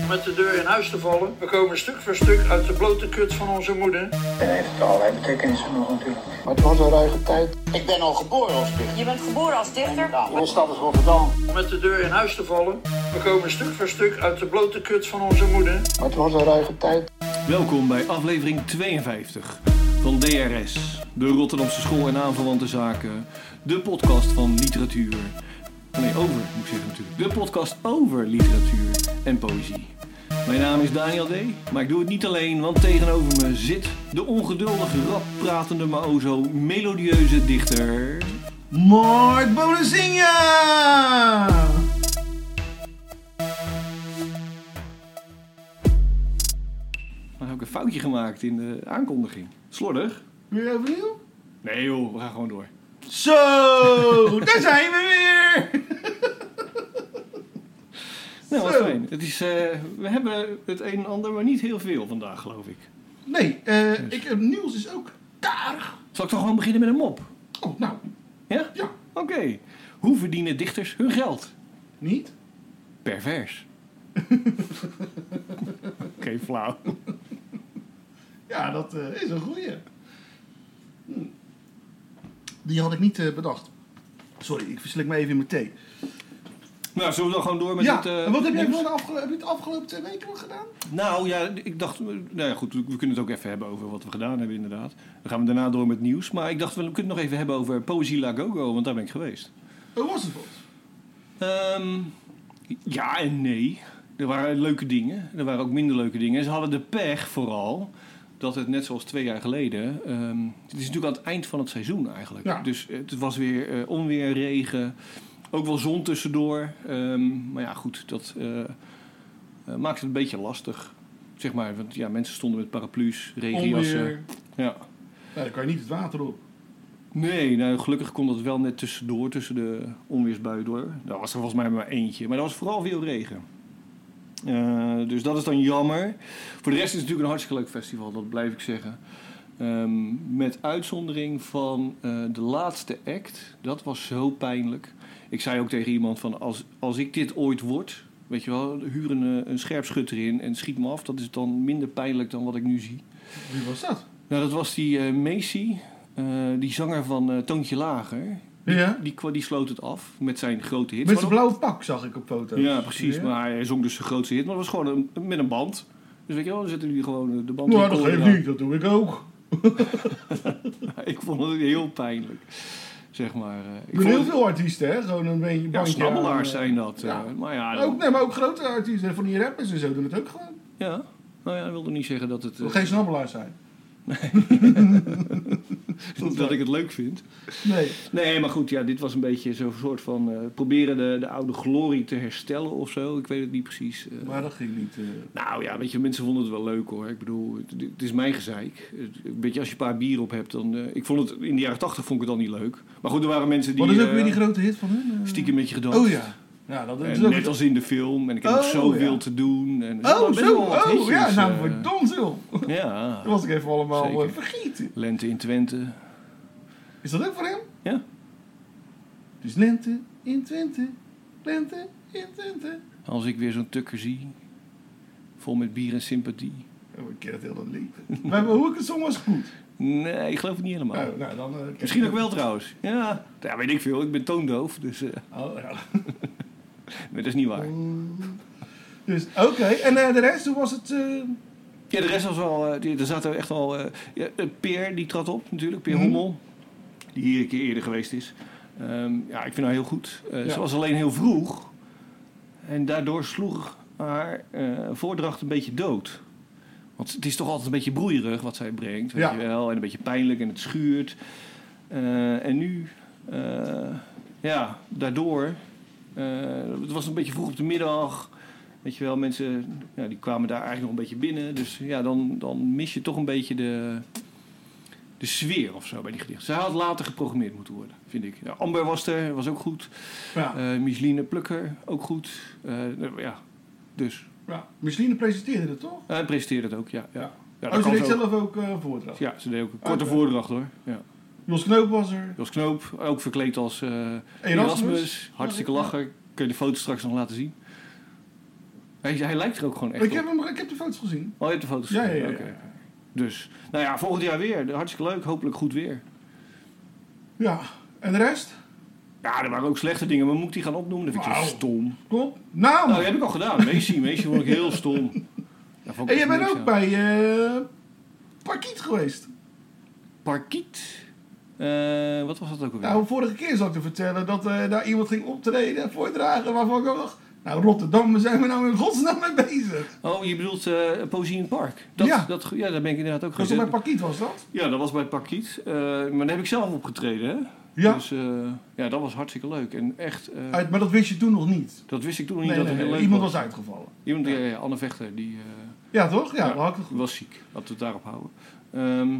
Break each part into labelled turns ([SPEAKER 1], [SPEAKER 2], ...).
[SPEAKER 1] om met de deur in huis te vallen. We komen stuk voor stuk uit de blote kut van onze moeder.
[SPEAKER 2] En heeft allerlei betekenissen nog natuurlijk.
[SPEAKER 3] Maar het was een ruige tijd.
[SPEAKER 4] Ik ben al geboren als dichter.
[SPEAKER 5] Je bent geboren als dichter?
[SPEAKER 4] Nou, mijn stad is Rotterdam.
[SPEAKER 1] Om met de deur in huis te vallen. We komen stuk voor stuk uit de blote kut van onze moeder.
[SPEAKER 3] Maar het was een ruige tijd.
[SPEAKER 6] Welkom bij aflevering 52 van DRS, de Rotterdamse School en Aanverwante Zaken, de podcast van literatuur. Nee, over moet ik zeggen natuurlijk. De podcast over literatuur en poëzie. Mijn naam is Daniel D., maar ik doe het niet alleen, want tegenover me zit de ongeduldige, rappratende, maar o zo melodieuze dichter.
[SPEAKER 7] Mark Bonazinha!
[SPEAKER 6] Maar heb ik een foutje gemaakt in de aankondiging? Slordig?
[SPEAKER 7] Weer overnieuw?
[SPEAKER 6] Nee joh, we gaan gewoon door.
[SPEAKER 7] Zo, daar zijn we weer!
[SPEAKER 6] Nou, wat
[SPEAKER 7] Zo.
[SPEAKER 6] fijn. Het is, eh, we hebben het een en ander, maar niet heel veel vandaag, geloof ik.
[SPEAKER 7] Nee, eh ik, het nieuws is ook karig.
[SPEAKER 6] Zal ik toch gewoon beginnen met een mop?
[SPEAKER 7] Oh, nou,
[SPEAKER 6] Ja?
[SPEAKER 7] ja,
[SPEAKER 6] Oké. Hoe verdienen dichters hun geld?
[SPEAKER 7] niet?
[SPEAKER 6] Pervers. Oké, flauw.
[SPEAKER 7] Ja, dat eh, is een goeie. Hm. Die had ik niet eh, bedacht. Sorry, ik verslik me even in mijn thee.
[SPEAKER 6] Nou, zullen we dan gewoon door met
[SPEAKER 7] ja,
[SPEAKER 6] het... eh,
[SPEAKER 7] en wat heb jij
[SPEAKER 6] nieuws?
[SPEAKER 7] voor de afgelo- heb je het afgelopen twee weken nog gedaan?
[SPEAKER 6] Nou ja, ik dacht... eh, Nou ja, goed, we kunnen het ook even hebben over wat we gedaan hebben, inderdaad. Dan gaan we daarna door met nieuws. Maar ik dacht, we kunnen het nog even hebben over Poëzie La Gogo, want daar ben ik geweest.
[SPEAKER 7] Hoe was het wat?
[SPEAKER 6] Ehm, ja en nee. Er waren leuke dingen. Er waren ook minder leuke dingen. En ze hadden de pech vooral dat het net zoals twee jaar geleden... ehm, het is natuurlijk aan het eind van het seizoen eigenlijk.
[SPEAKER 7] Ja.
[SPEAKER 6] Dus het was weer eh, onweer, regen. Ook wel zon tussendoor. Ehm, maar ja, goed. Dat eh, eh, maakt het een beetje lastig. Zeg maar, want ja, mensen stonden met paraplu's, regenjassen.
[SPEAKER 7] Onweer.
[SPEAKER 6] Ja.
[SPEAKER 7] Nou, dan kan je niet het water op.
[SPEAKER 6] Nee, nou, gelukkig kon dat wel net tussendoor, tussen de onweersbuien door. Daar was er volgens mij maar eentje, maar er was vooral veel regen. Eh, dus dat is dan jammer. Voor de rest is het natuurlijk een hartstikke leuk festival, dat blijf ik zeggen. Ehm, met uitzondering van eh, de laatste act. Dat was zo pijnlijk. Ik zei ook tegen iemand van, als, als ik dit ooit word... Weet je wel, huur een, eh, een scherpschutter in en schiet me af. Dat is dan minder pijnlijk dan wat ik nu zie.
[SPEAKER 7] Wie was dat?
[SPEAKER 6] Nou, dat was die eh Macy, eh, die zanger van eh, Toontje Lager.
[SPEAKER 7] Ja.
[SPEAKER 6] Die, kwa- die sloot het af met zijn grote hit.
[SPEAKER 7] Met zijn
[SPEAKER 6] Maar
[SPEAKER 7] blauwe pak zag ik op foto's.
[SPEAKER 6] dat- Ja, precies. Maar hij zong dus zijn grootste hit. Maar dat was gewoon een- met een band. Dus weet je wel, dan zetten jullie gewoon eh, de band
[SPEAKER 7] Nou,
[SPEAKER 6] in de
[SPEAKER 7] dat
[SPEAKER 6] koren
[SPEAKER 7] geeft
[SPEAKER 6] aan.
[SPEAKER 7] niet, dat doe ik ook.
[SPEAKER 6] Ik vond het heel pijnlijk. Zeg maar. eh, ik
[SPEAKER 7] Ik ben
[SPEAKER 6] vond
[SPEAKER 7] heel
[SPEAKER 6] het-
[SPEAKER 7] veel artiesten, hè? Gewoon een beetje
[SPEAKER 6] Ja,
[SPEAKER 7] bandje aan,
[SPEAKER 6] snabbelaars
[SPEAKER 7] eh,
[SPEAKER 6] zijn dat. eh,
[SPEAKER 7] ja.
[SPEAKER 6] maar ja,
[SPEAKER 7] Maar
[SPEAKER 6] dat-
[SPEAKER 7] Ook, nee, maar ook grote artiesten van die rappers en zo doen het ook gewoon.
[SPEAKER 6] ja. Nou ja, dat wilde niet zeggen dat, het, eh,
[SPEAKER 7] Wil geen snabbelaars zijn.
[SPEAKER 6] dat ik het leuk vind.
[SPEAKER 7] Nee.
[SPEAKER 6] Nee, maar goed, ja, dit was een beetje zo'n soort van eh, proberen de, de oude glorie te herstellen of zo. Ik weet het niet precies. eh.
[SPEAKER 7] Maar dat ging niet. eh.
[SPEAKER 6] Nou ja, weet je, mensen vonden het wel leuk hoor. Ik bedoel, het, het is mijn gezeik. Het- Weet je, als je een paar bier op hebt, dan... eh, ik vond het, in de jaren tachtig vond ik het dan niet leuk. Maar goed, er waren mensen die...
[SPEAKER 7] Wat Oh, is ook
[SPEAKER 6] eh,
[SPEAKER 7] weer die grote hit van hun? eh?
[SPEAKER 6] Stiekem met je gedanst.
[SPEAKER 7] Oh ja. Ja, dat is
[SPEAKER 6] En
[SPEAKER 7] ook...
[SPEAKER 6] net als in de film. En ik heb
[SPEAKER 7] Oh,
[SPEAKER 6] nog zoveel
[SPEAKER 7] ja.
[SPEAKER 6] te doen. En er
[SPEAKER 7] Oh,
[SPEAKER 6] waren best
[SPEAKER 7] zo.
[SPEAKER 6] wel wat
[SPEAKER 7] Oh,
[SPEAKER 6] hitjes,
[SPEAKER 7] ja. Nou,
[SPEAKER 6] eh,
[SPEAKER 7] verdomd joh.
[SPEAKER 6] ja.
[SPEAKER 7] Dat was ik even allemaal
[SPEAKER 6] Zeker.
[SPEAKER 7] eh, vergeten.
[SPEAKER 6] Lente in Twente.
[SPEAKER 7] Is dat ook voor hem?
[SPEAKER 6] Ja.
[SPEAKER 7] Het is lente in Twente. Lente in Twente.
[SPEAKER 6] Als ik weer zo'n tukker zie. Vol met bier en sympathie.
[SPEAKER 7] Oh, ik ken het heel dat lied. maar hoe ik het zong was goed.
[SPEAKER 6] Nee, ik geloof het niet helemaal.
[SPEAKER 7] Nou, nou, dan, eh, ken ik
[SPEAKER 6] Misschien ook
[SPEAKER 7] het.
[SPEAKER 6] wel trouwens. Ja. ja, weet ik veel. Ik ben toondoof, dus eh,
[SPEAKER 7] Oh, ja.
[SPEAKER 6] nee, dat is niet
[SPEAKER 7] Oh.
[SPEAKER 6] waar.
[SPEAKER 7] Dus, oké. En eh, de rest, hoe was het? eh,
[SPEAKER 6] Ja, de rest was wel. eh, die, er zaten echt wel. eh, ja, eh, Peer die trad op natuurlijk, Peer
[SPEAKER 7] Mhm.
[SPEAKER 6] Hommel. Die hier een keer eerder geweest is. Ehm, ja, ik vind haar heel goed. Eh,
[SPEAKER 7] Ja.
[SPEAKER 6] Ze was alleen heel vroeg. En daardoor sloeg haar eh, voordracht een beetje dood. Want het is toch altijd een beetje broeierig wat zij brengt. Weet
[SPEAKER 7] Ja.
[SPEAKER 6] je wel? En een beetje pijnlijk en het schuurt. Eh, en nu, eh, ja, daardoor. eh, het was een beetje vroeg op de middag. Weet je wel, mensen ja, die kwamen daar eigenlijk nog een beetje binnen. Dus ja, dan, dan mis je toch een beetje de, de sfeer of zo bij die gedichten. Zij had later geprogrammeerd moeten worden, vind ik. Ja, Amber was er, was ook goed.
[SPEAKER 7] ja.
[SPEAKER 6] Eh Micheline Plukker, ook goed. Eh, nou, ja, dus.
[SPEAKER 7] Ja, Micheline presenteerde het toch?
[SPEAKER 6] Hij presenteerde het ook, ja. ja.
[SPEAKER 7] Ja.
[SPEAKER 6] ja
[SPEAKER 7] oh, ze deed
[SPEAKER 6] ze ook.
[SPEAKER 7] zelf ook eh, een voordracht.
[SPEAKER 6] Ja, ze deed ook een korte
[SPEAKER 7] Oké.
[SPEAKER 6] voordracht hoor. Ja.
[SPEAKER 7] Jos Knoop was er.
[SPEAKER 6] Jos Knoop, ook verkleed als eh,
[SPEAKER 7] Erasmus.
[SPEAKER 6] Erasmus. Hartstikke
[SPEAKER 7] Ja.
[SPEAKER 6] lachen. Kun je de foto straks nog laten zien. Hij, hij lijkt er ook gewoon echt
[SPEAKER 7] Ik
[SPEAKER 6] op.
[SPEAKER 7] heb, hem, ik heb de foto's gezien.
[SPEAKER 6] Oh, je hebt de foto's
[SPEAKER 7] Ja,
[SPEAKER 6] gezien?
[SPEAKER 7] ja, ja,
[SPEAKER 6] Oké.
[SPEAKER 7] ja.
[SPEAKER 6] Dus, nou ja, volgend jaar weer. Hartstikke leuk. Hopelijk goed weer.
[SPEAKER 7] Ja. En de rest?
[SPEAKER 6] Ja, er waren ook slechte dingen, maar moet ik die gaan opnoemen? Dat vind ik zo
[SPEAKER 7] Wauw.
[SPEAKER 6] stom.
[SPEAKER 7] Klopt. Naam.
[SPEAKER 6] Nou, die heb ik al gedaan. Messi, Messi vond ik heel stom. Daar vond ik echt
[SPEAKER 7] en jij bent
[SPEAKER 6] niks
[SPEAKER 7] ook
[SPEAKER 6] aan.
[SPEAKER 7] bij eh Parkiet geweest.
[SPEAKER 6] Parkiet. Eh, wat was dat ook alweer?
[SPEAKER 7] Nou, vorige keer zat ik te vertellen dat eh, daar iemand ging optreden en voordragen waarvan ik ook dacht... Nou, Rotterdam, waar zijn we nou in godsnaam mee bezig?
[SPEAKER 6] Oh, je bedoelt eh Poëzie in het Park. Dat,
[SPEAKER 7] Ja.
[SPEAKER 6] Dat, ja, daar ben ik inderdaad ook
[SPEAKER 7] Dat was bij
[SPEAKER 6] geweest.
[SPEAKER 7] Parkiet, was dat?
[SPEAKER 6] Ja, dat was bij Parkiet. Eh, maar daar heb ik zelf opgetreden, hè?
[SPEAKER 7] Ja.
[SPEAKER 6] Dus eh, ja, dat was hartstikke leuk. En echt, eh,
[SPEAKER 7] Uit, maar dat wist je toen nog niet.
[SPEAKER 6] dat wist ik toen nog niet
[SPEAKER 7] Nee,
[SPEAKER 6] dat
[SPEAKER 7] nee,
[SPEAKER 6] het heel
[SPEAKER 7] nee,
[SPEAKER 6] leuk
[SPEAKER 7] iemand
[SPEAKER 6] was.
[SPEAKER 7] was uitgevallen.
[SPEAKER 6] Iemand, ja, ja, Anne Vechter, die... eh,
[SPEAKER 7] Ja, toch? Ja, dat had ik het goed.
[SPEAKER 6] was ziek. Laten we het daarop houden. Ehm,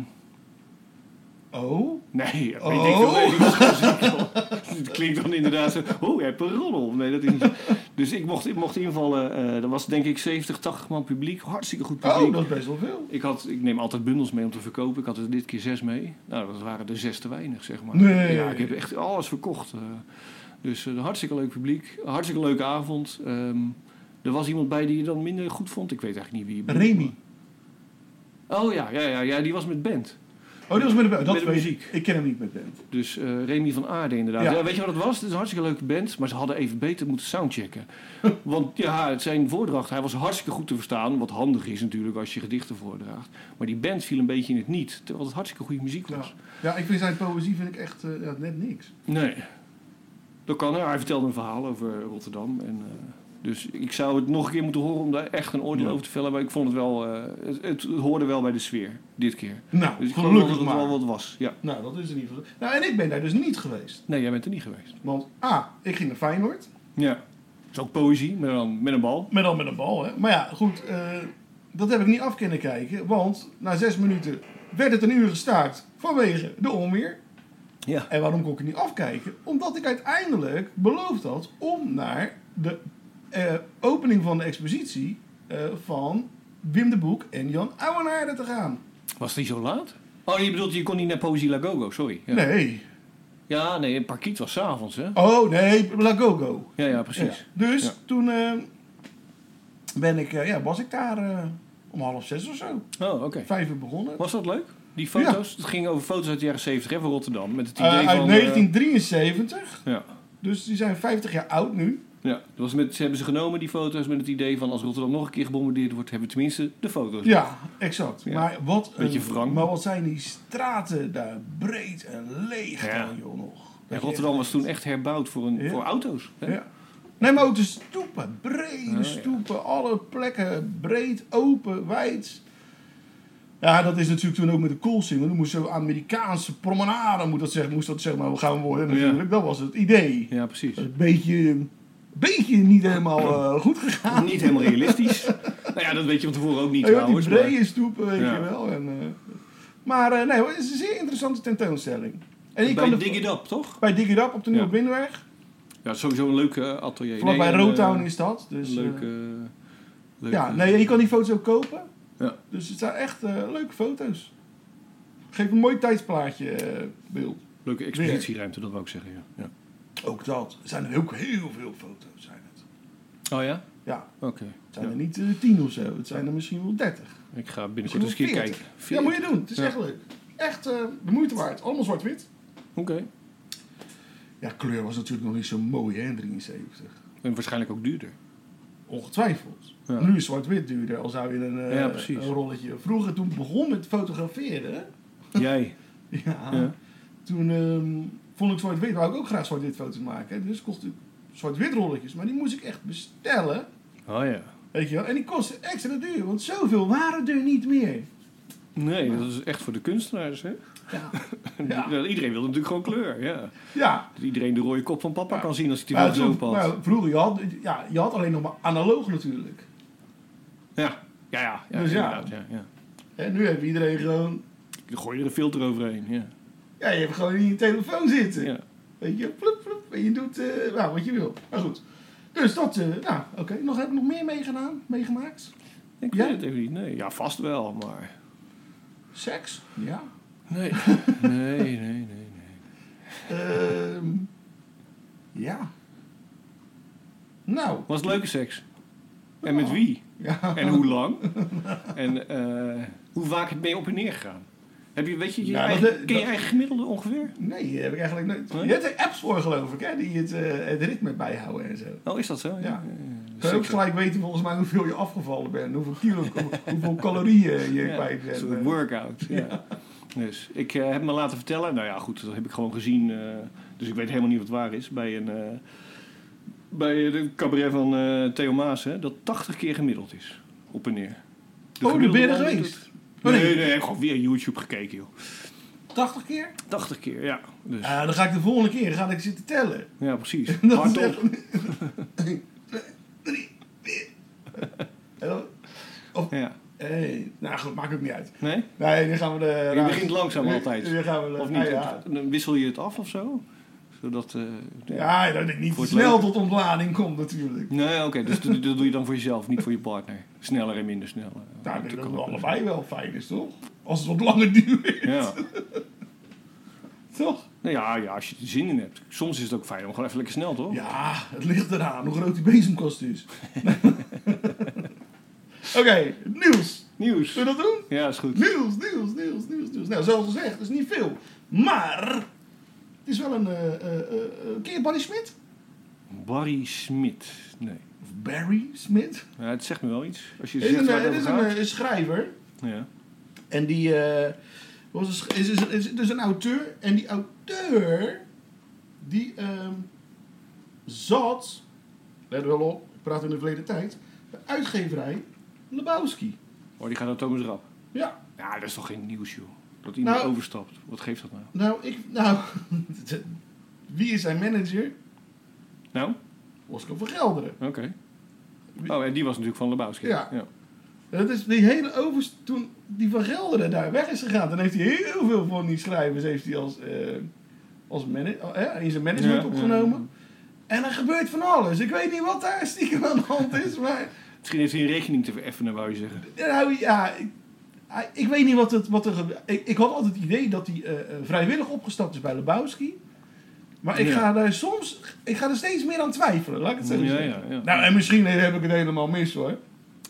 [SPEAKER 7] Oh?
[SPEAKER 6] nee, weet
[SPEAKER 7] Oh.
[SPEAKER 6] ik veel. Nee, die was gewoon ziek. joh. Het klinkt dan inderdaad zo, oh, jij hebt een roddel. Nee, dat is niet zo. Dus ik mocht, ik mocht invallen. eh er was denk ik 70, 80 man publiek. Hartstikke goed publiek.
[SPEAKER 7] Oh, dat is best wel veel.
[SPEAKER 6] ik, had, ik neem altijd bundels mee om te verkopen. Ik had er dit keer zes mee. Nou, dat waren er zes te weinig, zeg maar.
[SPEAKER 7] Nee.
[SPEAKER 6] Ja, ik heb echt alles verkocht. eh. dus eh, een hartstikke leuk publiek. Een hartstikke leuke avond. Ehm, er was iemand bij die je dan minder goed vond. Ik weet eigenlijk niet wie.
[SPEAKER 7] Remy.
[SPEAKER 6] Oh ja, ja, ja, ja, die was met band.
[SPEAKER 7] Oh, dat was met de band. Dat
[SPEAKER 6] Met de
[SPEAKER 7] weet
[SPEAKER 6] muziek.
[SPEAKER 7] Ik. ik ken hem niet met band.
[SPEAKER 6] Dus eh, Remy van Aarde inderdaad. Ja.
[SPEAKER 7] Ja.
[SPEAKER 6] weet je wat het was? Het is een hartstikke leuke band, maar ze hadden even beter moeten soundchecken. Want ja, zijn voordracht, hij was hartstikke goed te verstaan. Wat handig is natuurlijk als je gedichten voordraagt. Maar die band viel een beetje in het niet, terwijl het hartstikke goede muziek
[SPEAKER 7] Ja.
[SPEAKER 6] was.
[SPEAKER 7] ja, ik vind zijn poëzie vind ik echt eh, ja, net niks.
[SPEAKER 6] Nee, dat kan er. Hij vertelde een verhaal over Rotterdam. En, eh, dus ik zou het nog een keer moeten horen om daar echt een oordeel
[SPEAKER 7] Ja.
[SPEAKER 6] over te vellen. Maar ik vond het wel, eh, het, het hoorde wel bij de sfeer, dit keer.
[SPEAKER 7] Nou,
[SPEAKER 6] Dus ik geloof dat
[SPEAKER 7] gelukkig
[SPEAKER 6] het
[SPEAKER 7] maar.
[SPEAKER 6] wel wat was. Ja.
[SPEAKER 7] Nou, dat is in ieder geval. Nou, en ik ben daar dus niet geweest.
[SPEAKER 6] Nee, jij bent er niet geweest.
[SPEAKER 7] Want A, ik ging naar Feyenoord.
[SPEAKER 6] Ja, dat is ook poëzie, maar dan met een bal.
[SPEAKER 7] Met al met een bal, hè. Maar ja, goed. eh, dat heb ik niet af kunnen kijken. Want na zes minuten werd het een uur gestaakt vanwege de onweer.
[SPEAKER 6] Ja.
[SPEAKER 7] En waarom kon ik het niet afkijken? Omdat ik uiteindelijk beloofd had om naar de eh, opening van de expositie eh, van Wim de Boek en Jan Ouwenaarde te gaan.
[SPEAKER 6] Was die zo laat? Oh, je bedoelt, je kon niet naar Poëzie La Gogo, sorry. Ja,
[SPEAKER 7] Nee.
[SPEAKER 6] ja nee, Parkiet was s'avonds, hè?
[SPEAKER 7] Oh, nee, La Go Go.
[SPEAKER 6] Ja, ja, precies.
[SPEAKER 7] Ja. Dus
[SPEAKER 6] Ja.
[SPEAKER 7] toen eh, ben ik, eh, ja, was ik daar eh, om half zes of zo.
[SPEAKER 6] Oh, oké.
[SPEAKER 7] Vijf uur begonnen.
[SPEAKER 6] Was dat leuk? Die foto's? Het ging over foto's uit de jaren 70 hè, van Rotterdam. Met het idee
[SPEAKER 7] Eh, uit
[SPEAKER 6] van... eh,
[SPEAKER 7] 1973.
[SPEAKER 6] ja.
[SPEAKER 7] Dus die zijn 50 jaar oud nu.
[SPEAKER 6] Ja, dat was met, ze hebben ze genomen, die foto's, met het idee van... als Rotterdam nog een keer gebombardeerd wordt, hebben we tenminste de foto's.
[SPEAKER 7] Ja, exact.
[SPEAKER 6] Ja.
[SPEAKER 7] Maar, wat een-
[SPEAKER 6] Beetje wrang.
[SPEAKER 7] maar wat zijn die straten daar breed en leeg
[SPEAKER 6] Ja.
[SPEAKER 7] dan, joh, nog.
[SPEAKER 6] En Rotterdam was toen echt herbouwd voor, een,
[SPEAKER 7] Ja.
[SPEAKER 6] voor auto's. Hè? Oh,
[SPEAKER 7] Ja. Nee, maar ook de stoepen. Brede
[SPEAKER 6] ja.
[SPEAKER 7] stoepen. Alle plekken breed, open, wijd. Ja, dat is natuurlijk toen ook met de Coolsing. Want toen moest zo'n Amerikaanse promenade, moet dat zeg, moest dat zeg maar gaan worden natuurlijk. Dat was het idee.
[SPEAKER 6] Ja, precies.
[SPEAKER 7] Dat is een beetje, beetje niet helemaal eh, goed gegaan.
[SPEAKER 6] Niet helemaal realistisch. nou ja, dat weet je van tevoren ook niet,
[SPEAKER 7] Ja, die
[SPEAKER 6] trouwens. maar-
[SPEAKER 7] brede stoepen, weet
[SPEAKER 6] Ja.
[SPEAKER 7] je wel. En, eh, maar eh, nee, hoor, het is een zeer interessante tentoonstelling. En je kan
[SPEAKER 6] Bij
[SPEAKER 7] er-
[SPEAKER 6] Dig It Up, toch?
[SPEAKER 7] bij Dig It Up op de Nieuwe
[SPEAKER 6] Ja.
[SPEAKER 7] Binnenweg.
[SPEAKER 6] Ja, sowieso een leuk eh, atelier.
[SPEAKER 7] Vlakbij
[SPEAKER 6] Nee, en, eh,
[SPEAKER 7] Rotown is dat. Dus, eh,
[SPEAKER 6] Leuk, eh, leuk,
[SPEAKER 7] Ja,
[SPEAKER 6] eh,
[SPEAKER 7] nee, je kan die foto's ook kopen.
[SPEAKER 6] Ja.
[SPEAKER 7] Dus het zijn echt eh, leuke foto's. Geef een mooi tijdsplaatje, eh beeld.
[SPEAKER 6] leuke expositieruimte, dat wou ik zeggen. Ja.
[SPEAKER 7] Ook dat. Er zijn er ook heel veel foto's, zijn het.
[SPEAKER 6] Oh ja?
[SPEAKER 7] Ja,
[SPEAKER 6] Oké.
[SPEAKER 7] het zijn er niet eh, tien of zo. Het zijn er misschien wel dertig.
[SPEAKER 6] Ik ga binnenkort eens een keer kijken.
[SPEAKER 7] Ja, moet je doen. Het is
[SPEAKER 6] Ja.
[SPEAKER 7] echt leuk. Echt eh, de moeite waard. Allemaal zwart-wit.
[SPEAKER 6] Oké.
[SPEAKER 7] Ja, kleur was natuurlijk nog niet zo mooi, hè, in 73.
[SPEAKER 6] En waarschijnlijk ook duurder.
[SPEAKER 7] Ongetwijfeld.
[SPEAKER 6] Ja.
[SPEAKER 7] Nu is zwart-wit duurder, al zou je een, eh,
[SPEAKER 6] Ja, precies.
[SPEAKER 7] een rolletje... Vroeger, toen ik begon met fotograferen...
[SPEAKER 6] Jij?
[SPEAKER 7] Ja.
[SPEAKER 6] Ja.
[SPEAKER 7] Toen ehm, vond ik zwart-wit, wou ik ook graag zwart-wit foto's maken. Dus kocht ik zwart-wit rolletjes, maar die moest ik echt bestellen.
[SPEAKER 6] Oh ja.
[SPEAKER 7] Weet je wel? En die kostte extra duur, want zoveel waren er niet meer.
[SPEAKER 6] Nee, dat is echt voor de kunstenaars, hè?
[SPEAKER 7] Ja,
[SPEAKER 6] Ja. Iedereen wil natuurlijk gewoon kleur, ja.
[SPEAKER 7] ja.
[SPEAKER 6] Dat iedereen de rode kop van papa kan zien als hij die
[SPEAKER 7] Maar
[SPEAKER 6] wel
[SPEAKER 7] toen-
[SPEAKER 6] zo past.
[SPEAKER 7] maar vroeger, je had, ja, je had alleen nog maar analoog natuurlijk.
[SPEAKER 6] Ja. Ja, ja. ja,
[SPEAKER 7] Dus ja.
[SPEAKER 6] inderdaad, ja, ja.
[SPEAKER 7] En nu heeft iedereen gewoon...
[SPEAKER 6] Dan gooi je er een filter overheen, ja.
[SPEAKER 7] Ja, je hebt gewoon in je telefoon zitten.
[SPEAKER 6] ja.
[SPEAKER 7] Weet je, plup, plup, en je doet eh, nou, wat je wil. Maar goed. Dus dat, eh, nou, oké. Nog, heb ik nog meer meegedaan, meegemaakt?
[SPEAKER 6] Ik
[SPEAKER 7] Ja?
[SPEAKER 6] weet het even niet, nee. Ja, vast wel, maar...
[SPEAKER 7] Seks? Ja.
[SPEAKER 6] Nee, nee, nee, nee. nee.
[SPEAKER 7] Ehm ja. Nou,
[SPEAKER 6] Was het leuke seks? En met wie?
[SPEAKER 7] Ja.
[SPEAKER 6] En hoe lang? en eh, hoe vaak ben je op en neer gegaan? Heb je, weet je, je
[SPEAKER 7] Ja,
[SPEAKER 6] eigen,
[SPEAKER 7] Nou, dat-
[SPEAKER 6] ken
[SPEAKER 7] dat-
[SPEAKER 6] je eigen gemiddelde ongeveer?
[SPEAKER 7] Nee, die heb ik eigenlijk nooit.
[SPEAKER 6] Nee?
[SPEAKER 7] Je hebt er apps voor, geloof ik, hè, die het, eh, het ritme bijhouden en zo.
[SPEAKER 6] Oh, is dat zo?
[SPEAKER 7] Ja. Kun je
[SPEAKER 6] Zeker.
[SPEAKER 7] ook gelijk weten, volgens mij, hoeveel je afgevallen bent. Hoeveel kilo, hoeveel calorieën je
[SPEAKER 6] Ja,
[SPEAKER 7] kwijt
[SPEAKER 6] een
[SPEAKER 7] bent.
[SPEAKER 6] soort workout. Ja. Dus ik eh, heb me laten vertellen. Nou ja, goed, dat heb ik gewoon gezien. eh, dus ik weet helemaal niet wat waar is. Bij een. eh, bij de cabaret van eh, Theo Maas, hè, dat 80 keer gemiddeld is. Op en neer.
[SPEAKER 7] Oh, daar ben je
[SPEAKER 6] gemiddelde
[SPEAKER 7] er
[SPEAKER 6] man
[SPEAKER 7] geweest?
[SPEAKER 6] doet het-
[SPEAKER 7] Oh, nee.
[SPEAKER 6] Nee, nee, ik heb gewoon weer YouTube gekeken, joh.
[SPEAKER 7] 80 keer?
[SPEAKER 6] 80 keer, ja. Dus,
[SPEAKER 7] Ja, dan ga ik de volgende keer ga ik zitten tellen.
[SPEAKER 6] ja, precies.
[SPEAKER 7] Dat is
[SPEAKER 6] Hardop.
[SPEAKER 7] echt- Eén, twee, drie, vier. En dan-
[SPEAKER 6] Ja.
[SPEAKER 7] Hey, nou goed, maakt ook niet uit.
[SPEAKER 6] Nee?
[SPEAKER 7] Nee, nu gaan we de...
[SPEAKER 6] Je begint langzaam altijd.
[SPEAKER 7] Nu gaan we de-
[SPEAKER 6] Of niet?
[SPEAKER 7] ah, ja.
[SPEAKER 6] Dan wissel je het af of zo? Zodat. eh,
[SPEAKER 7] Ja, dat ik niet
[SPEAKER 6] Voor
[SPEAKER 7] te
[SPEAKER 6] het
[SPEAKER 7] snel
[SPEAKER 6] leuk.
[SPEAKER 7] tot ontlading kom natuurlijk.
[SPEAKER 6] Nee, oké, dus dat, dat doe je dan voor jezelf, niet voor je partner. Sneller en minder snel. eh,
[SPEAKER 7] Nou,
[SPEAKER 6] om
[SPEAKER 7] ik
[SPEAKER 6] te
[SPEAKER 7] denk dat
[SPEAKER 6] komen.
[SPEAKER 7] het allebei wel fijn is, toch? Als het wat langer duurt,
[SPEAKER 6] Ja.
[SPEAKER 7] toch?
[SPEAKER 6] Nou ja, ja, als je er zin in hebt. Soms is het ook fijn om gewoon even lekker snel, toch?
[SPEAKER 7] Ja, het ligt eraan hoe groot die bezemkast is. Oké, het nieuws.
[SPEAKER 6] Nieuws.
[SPEAKER 7] Zullen we dat doen?
[SPEAKER 6] Ja, is goed.
[SPEAKER 7] Nieuws, nieuws, nieuws, nieuws, nieuws. Nou, zoals gezegd, het is niet veel. Maar het is wel een... eh, eh, eh, eh, ken je Barry Smit?
[SPEAKER 6] Barry Smit. Nee.
[SPEAKER 7] Of Barry Smit?
[SPEAKER 6] Nou, het zegt me wel iets. Als je
[SPEAKER 7] Het is
[SPEAKER 6] zegt
[SPEAKER 7] een,
[SPEAKER 6] waar
[SPEAKER 7] eh,
[SPEAKER 6] het
[SPEAKER 7] het
[SPEAKER 6] over
[SPEAKER 7] is een,
[SPEAKER 6] gaat.
[SPEAKER 7] eh, schrijver.
[SPEAKER 6] Ja.
[SPEAKER 7] En die eh, was een, sch- is, is, is, dus een auteur. En die auteur, die ehm, zat, let wel op, ik praat in de verleden tijd, de uitgeverij Lebowski.
[SPEAKER 6] Oh, die gaat naar Thomas Rap.
[SPEAKER 7] Ja,
[SPEAKER 6] Ja, dat is toch geen nieuws, joh. Dat iemand
[SPEAKER 7] Nou-
[SPEAKER 6] overstapt. Wat geeft dat nou?
[SPEAKER 7] nou, ik, nou, wie is zijn manager?
[SPEAKER 6] Nou,
[SPEAKER 7] Oscar van Gelderen.
[SPEAKER 6] oké. Oh, en die was natuurlijk van Lebowski.
[SPEAKER 7] Ja. Dat is die hele over... Toen die van Gelderen daar weg is gegaan, dan heeft hij heel veel van die schrijvers heeft hij als, eh, als mana- eh, in zijn management
[SPEAKER 6] Ja,
[SPEAKER 7] opgenomen. En er gebeurt van alles. Ik weet niet wat daar stiekem aan de hand is, maar...
[SPEAKER 6] Misschien heeft hij een rekening te effenen, wou je zeggen.
[SPEAKER 7] Nou ja, ik, hij- ik weet niet wat, het, wat er gebe- Ik, ik had altijd het idee dat hij eh, eh, vrijwillig opgestapt is bij Lebowski. Maar ik
[SPEAKER 6] Ja.
[SPEAKER 7] ga daar soms... Ik ga er steeds meer aan twijfelen, laat ik het zo
[SPEAKER 6] Ja,
[SPEAKER 7] zeggen.
[SPEAKER 6] ja, ja.
[SPEAKER 7] Nou, en misschien heb ik het helemaal mis, hoor.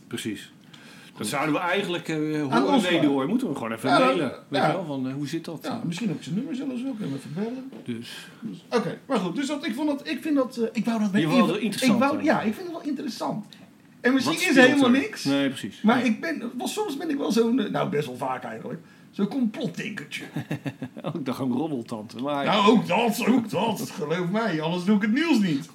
[SPEAKER 6] Precies. Dat zouden we eigenlijk eh
[SPEAKER 7] Aan
[SPEAKER 6] horen leden
[SPEAKER 7] ons vragen.
[SPEAKER 6] hoor. Moeten we gewoon even
[SPEAKER 7] Ja,
[SPEAKER 6] mailen.
[SPEAKER 7] dat-
[SPEAKER 6] Weet
[SPEAKER 7] ja.
[SPEAKER 6] je wel, van eh, hoe zit dat?
[SPEAKER 7] Ja, misschien heb ik zijn nummer zelfs wel. Kunnen we even bellen.
[SPEAKER 6] Dus,
[SPEAKER 7] Oké, maar goed. Dus dat, ik, vond dat, ik vind dat... eh, ik wou dat...
[SPEAKER 6] Je
[SPEAKER 7] ik
[SPEAKER 6] vond
[SPEAKER 7] wou-
[SPEAKER 6] het interessant,
[SPEAKER 7] Ik wou,
[SPEAKER 6] hè?
[SPEAKER 7] ja, ik vind het wel interessant. En misschien
[SPEAKER 6] wat
[SPEAKER 7] is
[SPEAKER 6] speelt
[SPEAKER 7] helemaal
[SPEAKER 6] er?
[SPEAKER 7] niks.
[SPEAKER 6] Nee, precies.
[SPEAKER 7] Maar ik ben... wel, soms ben ik wel zo'n... eh, Nou, best wel vaak eigenlijk. Zo'n complotdenkertje.
[SPEAKER 6] Oh, ik dacht een robbeltante. Maar
[SPEAKER 7] nou, ook dat, ook dat. Geloof mij, anders doe ik het nieuws niet.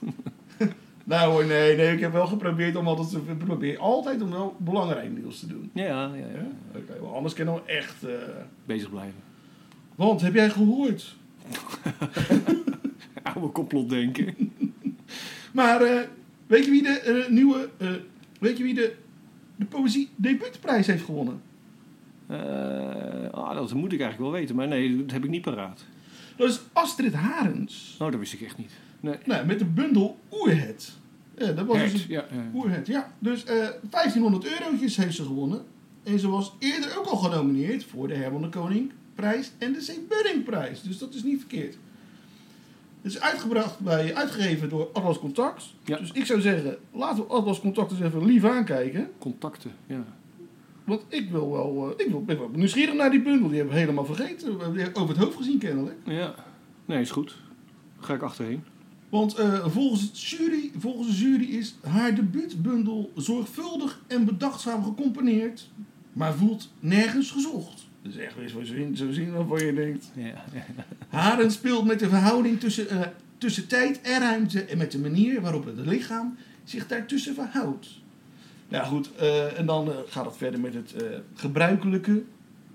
[SPEAKER 7] nou hoor, nee, nee. Ik heb wel geprobeerd om altijd... te- Ik probeer altijd om wel belangrijk nieuws te doen.
[SPEAKER 6] ja, ja, ja.
[SPEAKER 7] Oké, wel, anders kan we echt... eh,
[SPEAKER 6] bezig blijven.
[SPEAKER 7] Want, heb jij gehoord?
[SPEAKER 6] Oude complotdenken.
[SPEAKER 7] Maar eh, weet je wie de eh, nieuwe. eh, weet je wie de, de Poëzie Debuutprijs heeft gewonnen?
[SPEAKER 6] Eh ah, dat moet ik eigenlijk wel weten. Maar nee, dat heb ik niet paraat.
[SPEAKER 7] Dat is Astrid Harens.
[SPEAKER 6] Nou, dat wist ik echt niet. Nee.
[SPEAKER 7] Nou, met de bundel Oerhet. Ja, dat was
[SPEAKER 6] Hert,
[SPEAKER 7] dus een-
[SPEAKER 6] ja, ja.
[SPEAKER 7] Oerhet, ja. Dus eh 1500 eurotjes heeft ze gewonnen. En ze was eerder ook al genomineerd voor de Herman de Koningprijs en de C. Buddingprijs. Dus dat is niet verkeerd. Het is uitgebracht bij, uitgegeven door Atlas Contact.
[SPEAKER 6] Ja.
[SPEAKER 7] Dus ik zou zeggen, laten we Atlas Contact eens even lief aankijken.
[SPEAKER 6] Contacten, ja.
[SPEAKER 7] Want ik wil wel, eh, ik wil, ben wel nieuwsgierig naar die bundel. Die hebben we helemaal vergeten. We hebben die over het hoofd gezien kennelijk.
[SPEAKER 6] Ja. Nee, is goed. Ga ik achterheen.
[SPEAKER 7] Want eh, volgens, het jury, volgens de jury is haar debuutbundel zorgvuldig en bedachtzaam gecomponeerd. Maar voelt nergens gezocht. Dat is echt weer zo'n zin, zo'n zin waarvan je denkt.
[SPEAKER 6] Ja.
[SPEAKER 7] Haren speelt met de verhouding tussen, eh, tussen tijd en ruimte en met de manier waarop het lichaam zich daartussen verhoudt. Nou goed, eh, en dan eh, gaat het verder met het eh, gebruikelijke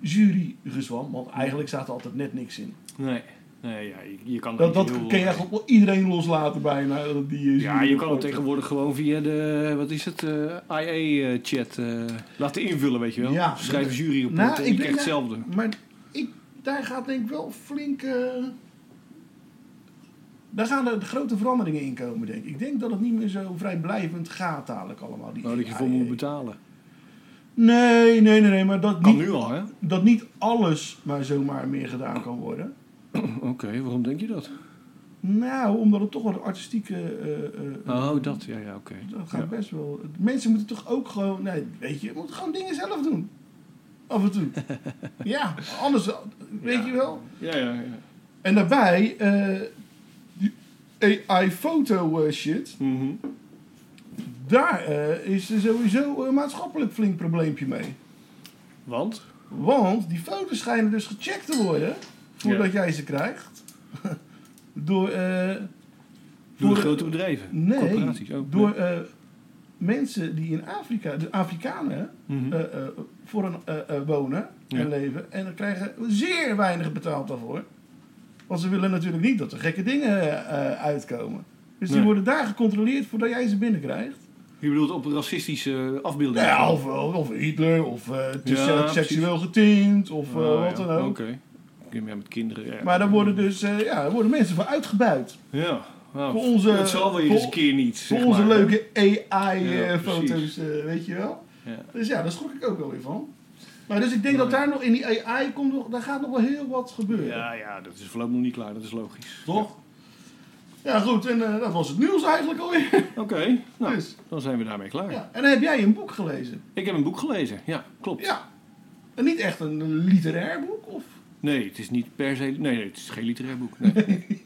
[SPEAKER 7] jurygezwam, want eigenlijk staat er altijd net niks in.
[SPEAKER 6] Nee. Nee, ja, je, je kan er
[SPEAKER 7] Dat,
[SPEAKER 6] niet
[SPEAKER 7] dat
[SPEAKER 6] heel- eh,
[SPEAKER 7] kun je echt op iedereen loslaten bijna. dat Die, eh,
[SPEAKER 6] Ja,
[SPEAKER 7] jury
[SPEAKER 6] je kan het
[SPEAKER 7] wordt.
[SPEAKER 6] tegenwoordig gewoon via de, wat is het, eh, IA-chat eh, laten invullen, weet je wel.
[SPEAKER 7] Ja.
[SPEAKER 6] Schrijf een juryrapport
[SPEAKER 7] Nou,
[SPEAKER 6] en
[SPEAKER 7] ik
[SPEAKER 6] je
[SPEAKER 7] denk
[SPEAKER 6] krijgt
[SPEAKER 7] dat-
[SPEAKER 6] hetzelfde.
[SPEAKER 7] Maar ik, daar gaat denk ik wel flink... eh, daar gaan er grote veranderingen in komen, denk ik. Ik denk dat het niet meer zo vrijblijvend gaat dadelijk allemaal. Die
[SPEAKER 6] Nou, dat je
[SPEAKER 7] AI.
[SPEAKER 6] voor moet betalen.
[SPEAKER 7] Nee, nee, nee, nee, maar dat
[SPEAKER 6] Kan
[SPEAKER 7] niet,
[SPEAKER 6] nu al, hè?
[SPEAKER 7] dat niet alles maar zomaar meer gedaan kan worden.
[SPEAKER 6] Oké, waarom denk je dat?
[SPEAKER 7] Nou, omdat het toch wel een artistieke... eh, eh,
[SPEAKER 6] Oh, dat. Ja, ja, oké.
[SPEAKER 7] dat gaat
[SPEAKER 6] Ja.
[SPEAKER 7] best wel. Mensen moeten toch ook gewoon. Nee, weet je, je moet gewoon dingen zelf doen. Af en toe. ja, anders. Weet je wel?
[SPEAKER 6] Ja, ja, ja.
[SPEAKER 7] En daarbij, eh, die AI-foto eh, shit.
[SPEAKER 6] Mhm.
[SPEAKER 7] Daar eh, is er sowieso een maatschappelijk flink probleempje mee.
[SPEAKER 6] Want?
[SPEAKER 7] Want die foto's schijnen dus gecheckt te worden. voordat jij ze krijgt. door. eh,
[SPEAKER 6] Door de
[SPEAKER 7] Door-
[SPEAKER 6] grote bedrijven?
[SPEAKER 7] Nee,
[SPEAKER 6] Corporaties? Oh,
[SPEAKER 7] door eh, mensen die in Afrika, de Afrikanen,
[SPEAKER 6] Mhm.
[SPEAKER 7] eh, eh, voor een, eh, eh, wonen
[SPEAKER 6] Ja.
[SPEAKER 7] en leven. En dan krijgen zeer weinig betaald daarvoor. Want ze willen natuurlijk niet dat er gekke dingen eh, eh, uitkomen. Dus die
[SPEAKER 6] Nee.
[SPEAKER 7] worden daar gecontroleerd voordat jij ze binnenkrijgt.
[SPEAKER 6] Je bedoelt op racistische afbeeldingen?
[SPEAKER 7] Ja, of, of Hitler, of eh, het is
[SPEAKER 6] Ja,
[SPEAKER 7] zelfs
[SPEAKER 6] precies.
[SPEAKER 7] seksueel getint, of eh,
[SPEAKER 6] Oh, ja.
[SPEAKER 7] wat dan ook.
[SPEAKER 6] Oké. Ja, met kinderen. Ja.
[SPEAKER 7] Maar daar worden dus eh, ja, daar worden mensen voor uitgebuit.
[SPEAKER 6] Ja. Nou,
[SPEAKER 7] Voor onze-
[SPEAKER 6] Het zal wel
[SPEAKER 7] voor-
[SPEAKER 6] eens een keer niet. zeg
[SPEAKER 7] voor onze
[SPEAKER 6] maar.
[SPEAKER 7] leuke
[SPEAKER 6] Ja,
[SPEAKER 7] AI-foto's,
[SPEAKER 6] precies.
[SPEAKER 7] eh, weet je wel.
[SPEAKER 6] Ja. Nou
[SPEAKER 7] Dus ja, daar schrok ik ook wel weer van. Maar dus ik denk dat daar nog in die AI komt, nog- daar gaat nog wel heel wat gebeuren.
[SPEAKER 6] Ja, ja, dat is voorlopig nog niet klaar. Dat is logisch.
[SPEAKER 7] Toch? Ja, goed, en eh, dat was het nieuws eigenlijk alweer.
[SPEAKER 6] Oké, nou,
[SPEAKER 7] Dus.
[SPEAKER 6] dan zijn we daarmee klaar.
[SPEAKER 7] Ja. En heb jij een boek gelezen?
[SPEAKER 6] Ik heb een boek gelezen. Ja, klopt.
[SPEAKER 7] Ja. En niet echt een literair boek? Of?
[SPEAKER 6] Nee, het is niet per se... Nee, nee het is geen literair boek. Nee.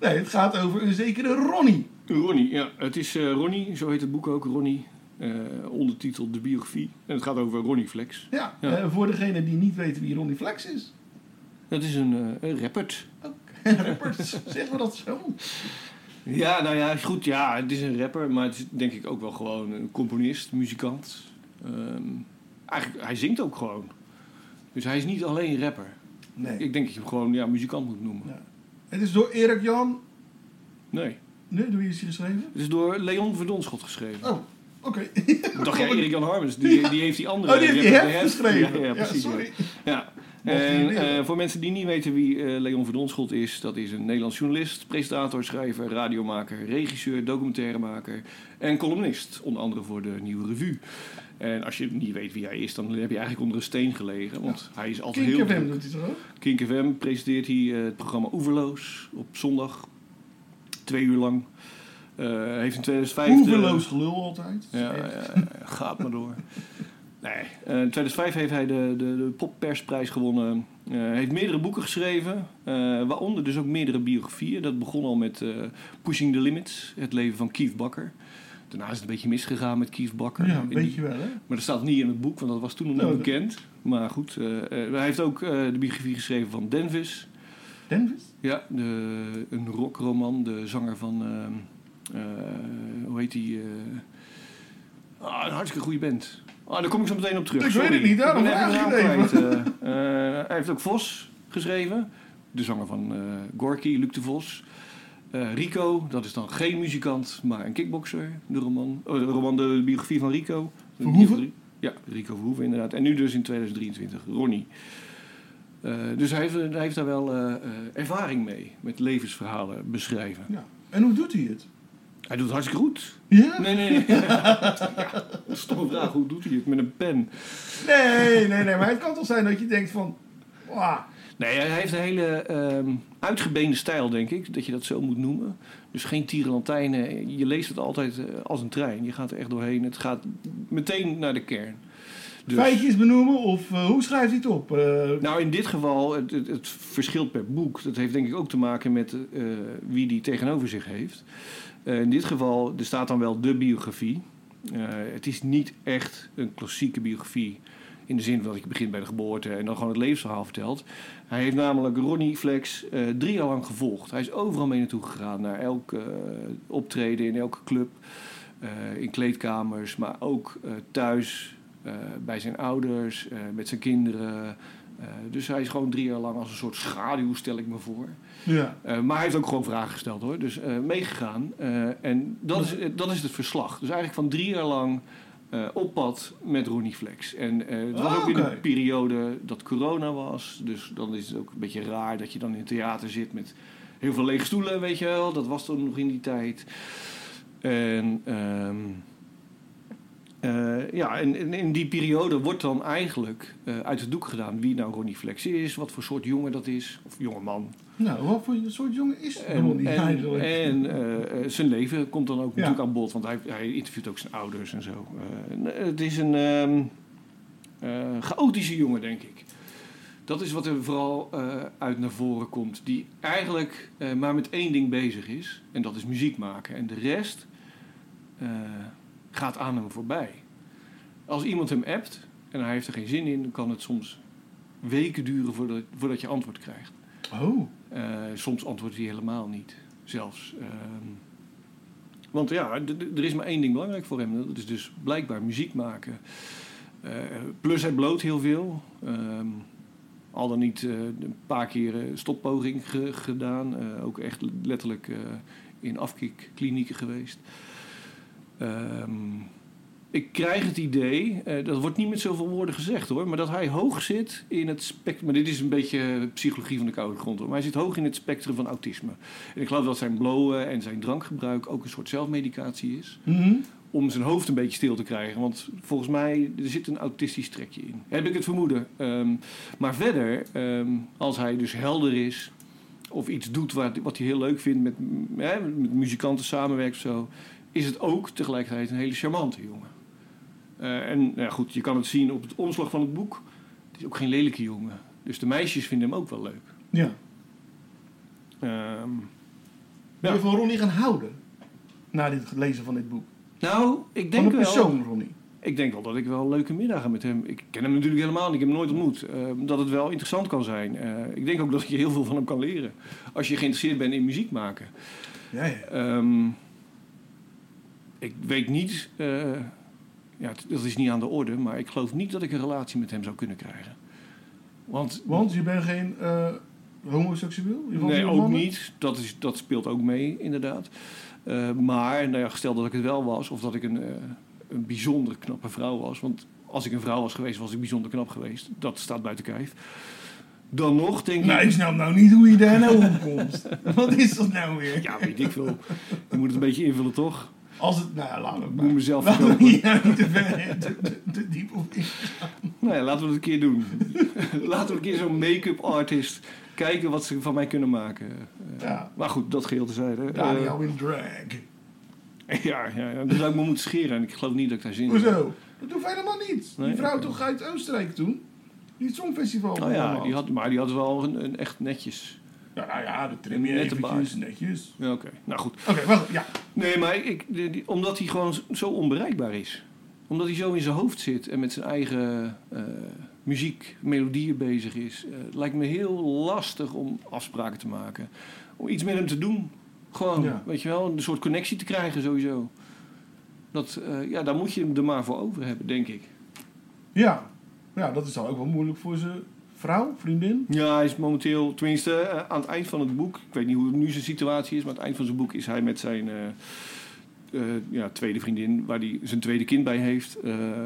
[SPEAKER 7] Nee, het gaat over een zekere Ronnie.
[SPEAKER 6] Ronnie, ja. Het is eh, Ronnie, zo heet het boek ook, Ronnie. Eh ondertitel De Biografie. En het gaat over Ronnie Flex.
[SPEAKER 7] Ja,
[SPEAKER 6] Ja.
[SPEAKER 7] eh, voor degene die niet weten wie Ronnie Flex is.
[SPEAKER 6] Dat is een, eh, een rapper.
[SPEAKER 7] Rappers, zeggen we dat zo?
[SPEAKER 6] Ja, nou ja, is goed. Ja, het is een rapper, maar het is denk ik ook wel gewoon een componist, muzikant. Ehm, eigenlijk, hij zingt ook gewoon. Dus hij is niet alleen rapper.
[SPEAKER 7] Nee.
[SPEAKER 6] Ik denk dat je hem gewoon ja, muzikant moet noemen.
[SPEAKER 7] Ja. Het is door Erik Jan...
[SPEAKER 6] Nee.
[SPEAKER 7] Nee, door wie is hij geschreven?
[SPEAKER 6] Het is door Leon Verdonschot geschreven.
[SPEAKER 7] Oh, oké.
[SPEAKER 6] Ik dacht, ja, Erik Jan Harmens, die, die heeft die andere...
[SPEAKER 7] Oh, die heeft die
[SPEAKER 6] rapper, de
[SPEAKER 7] heft
[SPEAKER 6] heft.
[SPEAKER 7] geschreven.
[SPEAKER 6] Ja, ja, precies. ja.
[SPEAKER 7] sorry.
[SPEAKER 6] Ja.
[SPEAKER 7] Mocht hij
[SPEAKER 6] En
[SPEAKER 7] niet leren.
[SPEAKER 6] eh, voor mensen die niet weten wie eh, Leon Verdonschot is, dat is een Nederlands journalist, presentator, schrijver, radiomaker, regisseur, documentairemaker en columnist. Onder andere voor de Nieuwe Revue. En als je niet weet wie hij is, dan heb je eigenlijk onder een steen gelegen. Want hij is altijd
[SPEAKER 7] Kink
[SPEAKER 6] heel
[SPEAKER 7] FM
[SPEAKER 6] druk.
[SPEAKER 7] doet hij toch ook?
[SPEAKER 6] Kink FM presenteert hij eh, het programma Oeverloos op zondag. Twee uur lang. Eh, heeft in 2005... de-
[SPEAKER 7] Hoeveelloos gelul altijd.
[SPEAKER 6] ja,
[SPEAKER 7] Echt.
[SPEAKER 6] ja, ja, gaat maar door. Nee, eh, in 2005 heeft hij de, de, de poppersprijs gewonnen. Eh, Hij heeft meerdere boeken geschreven, eh, waaronder dus ook meerdere biografieën. Dat begon al met eh, Pushing the Limits, het leven van Keith Bakker. Daarna is het een beetje misgegaan met Keith Bakker.
[SPEAKER 7] Ja,
[SPEAKER 6] In
[SPEAKER 7] een
[SPEAKER 6] die-
[SPEAKER 7] beetje wel, hè?
[SPEAKER 6] maar dat staat niet in het boek, want dat was toen nog
[SPEAKER 7] Nou,
[SPEAKER 6] niet
[SPEAKER 7] dat-
[SPEAKER 6] bekend. Maar goed, eh, eh, hij heeft ook eh, de biografie geschreven van Denvis.
[SPEAKER 7] Denvis?
[SPEAKER 6] Ja, de, een rockroman. De zanger van, ehm, eh, hoe heet die? eh, ah, een hartstikke goede band. Ah, daar kom ik zo meteen op terug.
[SPEAKER 7] Ik weet het
[SPEAKER 6] Sorry.
[SPEAKER 7] niet, daarom
[SPEAKER 6] ben even
[SPEAKER 7] vraag
[SPEAKER 6] de
[SPEAKER 7] ik
[SPEAKER 6] naam
[SPEAKER 7] het
[SPEAKER 6] kwijt. Eh, eh, hij heeft ook Vos geschreven. De zanger van eh Gorky, Luc de Vos. Eh, Rico, dat is dan geen muzikant, maar een kickbokser. De roman, oh, de, roman de biografie van Rico.
[SPEAKER 7] Verhoeven?
[SPEAKER 6] Ja, Rico Verhoeven inderdaad. En nu dus in 2023, Ronnie. Eh, dus hij heeft, hij heeft daar wel eh, eh, ervaring mee, met levensverhalen beschrijven.
[SPEAKER 7] Ja. En hoe doet hij het?
[SPEAKER 6] Hij doet het hartstikke goed.
[SPEAKER 7] Ja?
[SPEAKER 6] Nee, nee, nee. ja, stomme vraag, hoe doet hij het met een pen?
[SPEAKER 7] Nee, nee, nee. Maar het kan toch zijn dat je denkt van... wauw,
[SPEAKER 6] Nee, hij heeft een hele ehm, uitgebeende stijl, denk ik, dat je dat zo moet noemen. Dus geen tierlantijnen. Je leest het altijd eh, als een trein. Je gaat er echt doorheen. Het gaat meteen naar de kern. Dus-
[SPEAKER 7] feitjes benoemen of eh, hoe schrijft hij het op? Eh,
[SPEAKER 6] Nou, in dit geval, het, het, het verschilt per boek. Dat heeft denk ik ook te maken met eh, wie die tegenover zich heeft. Eh, in dit geval, er staat dan wel de biografie. Eh, het is niet echt een klassieke biografie. In de zin van dat je begint bij de geboorte en dan gewoon het levensverhaal vertelt. Hij heeft namelijk Ronnie Flex eh, drie jaar lang gevolgd. Hij is overal mee naartoe gegaan. Naar elk eh, optreden in elke club. eh, in kleedkamers, maar ook eh, thuis. eh, bij zijn ouders, eh, met zijn kinderen. Eh, dus hij is gewoon drie jaar lang als een soort schaduw, stel ik me voor.
[SPEAKER 7] ja.
[SPEAKER 6] Eh, maar hij heeft ook gewoon vragen gesteld hoor. Dus eh, meegegaan. Eh, en dat is, eh, dat is het verslag. Dus eigenlijk van drie jaar lang eh, op pad met Ronnie Flex. En eh, het was
[SPEAKER 7] Ah,
[SPEAKER 6] ook in
[SPEAKER 7] oké.
[SPEAKER 6] een periode dat corona was. Dus dan is het ook een beetje raar dat je dan in het theater zit met heel veel lege stoelen, weet je wel. Dat was toen nog in die tijd. En ehm, eh, eh, ja, en, en in die periode wordt dan eigenlijk eh, uit het doek gedaan wie nou Ronnie Flex is, wat voor soort jongen dat is, of jongeman.
[SPEAKER 7] Nou, wat voor soort jongen is
[SPEAKER 6] En,
[SPEAKER 7] Ronnie
[SPEAKER 6] en,
[SPEAKER 7] eigenlijk?
[SPEAKER 6] en, eh, eh, zijn leven komt dan ook
[SPEAKER 7] Ja.
[SPEAKER 6] natuurlijk aan bod, want hij, hij interviewt ook zijn ouders en zo. Eh, en, eh, het is een ehm, eh, chaotische jongen, denk ik. Dat is wat er vooral eh, uit naar voren komt, die eigenlijk eh, maar met één ding bezig is, en dat is muziek maken. En de rest eh, gaat aan hem voorbij. Als iemand hem appt en hij heeft er geen zin in, dan kan het soms weken duren voordat, voordat je antwoord krijgt.
[SPEAKER 7] oh,
[SPEAKER 6] Eh, soms antwoordt hij helemaal niet, zelfs. Ehm, want ja, d- d- er is maar één ding belangrijk voor hem. Dat is dus blijkbaar muziek maken. Eh, plus hij bloot heel veel. Ehm, al dan niet eh, een paar keer eh, stoppoging ge- gedaan. Eh, ook echt letterlijk eh, in afkikklinieken geweest. Ehm, ik krijg het idee, eh, dat wordt niet met zoveel woorden gezegd hoor, maar dat hij hoog zit in het spectrum. Maar dit is een beetje psychologie van de koude grond hoor. Maar hij zit hoog in het spectrum van autisme. En ik geloof dat zijn blowen en zijn drankgebruik ook een soort zelfmedicatie is.
[SPEAKER 7] mhm.
[SPEAKER 6] Om zijn hoofd een beetje stil te krijgen. Want volgens mij er zit een autistisch trekje in. Heb ik het vermoeden. Ehm, maar verder, ehm, als hij dus helder is. Of iets doet wat, wat hij heel leuk vindt. Met, mm, hè, met muzikanten samenwerkt of zo. Is het ook tegelijkertijd een hele charmante jongen. Eh, en nou ja, goed, je kan het zien op het omslag van het boek. Het is ook geen lelijke jongen. Dus de meisjes vinden hem ook wel leuk.
[SPEAKER 7] ja.
[SPEAKER 6] Ehm,
[SPEAKER 7] Ben
[SPEAKER 6] Ja.
[SPEAKER 7] je van Ronnie gaan houden? Na dit lezen van dit boek.
[SPEAKER 6] nou, ik denk
[SPEAKER 7] van de
[SPEAKER 6] wel...
[SPEAKER 7] persoon Ronnie.
[SPEAKER 6] Ik denk wel dat ik wel leuke middagen met hem. Ik ken hem natuurlijk helemaal niet, ik heb hem nooit ontmoet. Eh, dat het wel interessant kan zijn. Eh, ik denk ook dat je heel veel van hem kan leren. Als je geïnteresseerd bent in muziek maken.
[SPEAKER 7] Ja, ja.
[SPEAKER 6] Ehm, ik weet niet, eh, ja, t- dat is niet aan de orde, maar ik geloof niet dat ik een relatie met hem zou kunnen krijgen. Want
[SPEAKER 7] Want je bent geen eh, homoseksueel? Je valt
[SPEAKER 6] nee,
[SPEAKER 7] niet
[SPEAKER 6] ook
[SPEAKER 7] op mannen?
[SPEAKER 6] niet. Dat, is, dat speelt ook mee, inderdaad. Eh, maar nou ja, gesteld dat ik het wel was, of dat ik een, eh, een bijzonder knappe vrouw was. Want als ik een vrouw was geweest, was ik bijzonder knap geweest. Dat staat buiten kijf. Dan nog, denk
[SPEAKER 7] Nou,
[SPEAKER 6] ik.
[SPEAKER 7] ik snap nou niet hoe je daar nou omkomt. Wat is dat nou weer?
[SPEAKER 6] Ja, weet ik veel. Je moet het een beetje invullen, toch?
[SPEAKER 7] Als het, nou ja, laat het
[SPEAKER 6] Ik
[SPEAKER 7] maar.
[SPEAKER 6] moet mezelf
[SPEAKER 7] Laten we
[SPEAKER 6] verkopen.
[SPEAKER 7] hier nou niet te, ver, te, te- te diep op in.
[SPEAKER 6] Nou ja, laten we het een keer doen. laten we een keer zo'n make-up artist kijken wat ze van mij kunnen maken. Eh,
[SPEAKER 7] Ja,
[SPEAKER 6] Maar goed, dat geheel tezijde. Eh,
[SPEAKER 7] Daniel in drag.
[SPEAKER 6] ja, ja, ja, dan zou ik me moeten scheren en ik geloof niet dat ik daar zin in heb.
[SPEAKER 7] Hoezo? Dat hoeft helemaal niet.
[SPEAKER 6] Nee,
[SPEAKER 7] Die vrouw
[SPEAKER 6] oké.
[SPEAKER 7] toch uit Oostenrijk toen? Die het Songfestival.
[SPEAKER 6] Nou ja,
[SPEAKER 7] allemaal.
[SPEAKER 6] die had, maar die had wel een, een echt netjes.
[SPEAKER 7] Ja, nou ja, de trim je
[SPEAKER 6] Nette
[SPEAKER 7] eventjes, netjes.
[SPEAKER 6] Ja, oké. Nou goed.
[SPEAKER 7] Oké, wacht, ja.
[SPEAKER 6] Nee, maar ik, die- die- omdat hij gewoon zo onbereikbaar is. Omdat hij zo in zijn hoofd zit en met zijn eigen eh, muziek, melodieën bezig is. Eh, het lijkt me heel lastig om afspraken te maken. Om iets met hem te doen. Gewoon,
[SPEAKER 7] Ja.
[SPEAKER 6] weet je wel, een soort connectie te krijgen sowieso. Dat, eh, ja, daar moet je hem er maar voor over hebben, denk ik.
[SPEAKER 7] Ja. ja, dat is dan ook wel moeilijk voor zijn vrouw, vriendin.
[SPEAKER 6] Ja, hij is momenteel, tenminste eh, aan het eind van het boek, ik weet niet hoe nu zijn situatie is, maar aan het eind van zijn boek is hij met zijn eh, eh, ja, tweede vriendin, waar hij zijn tweede kind bij heeft, eh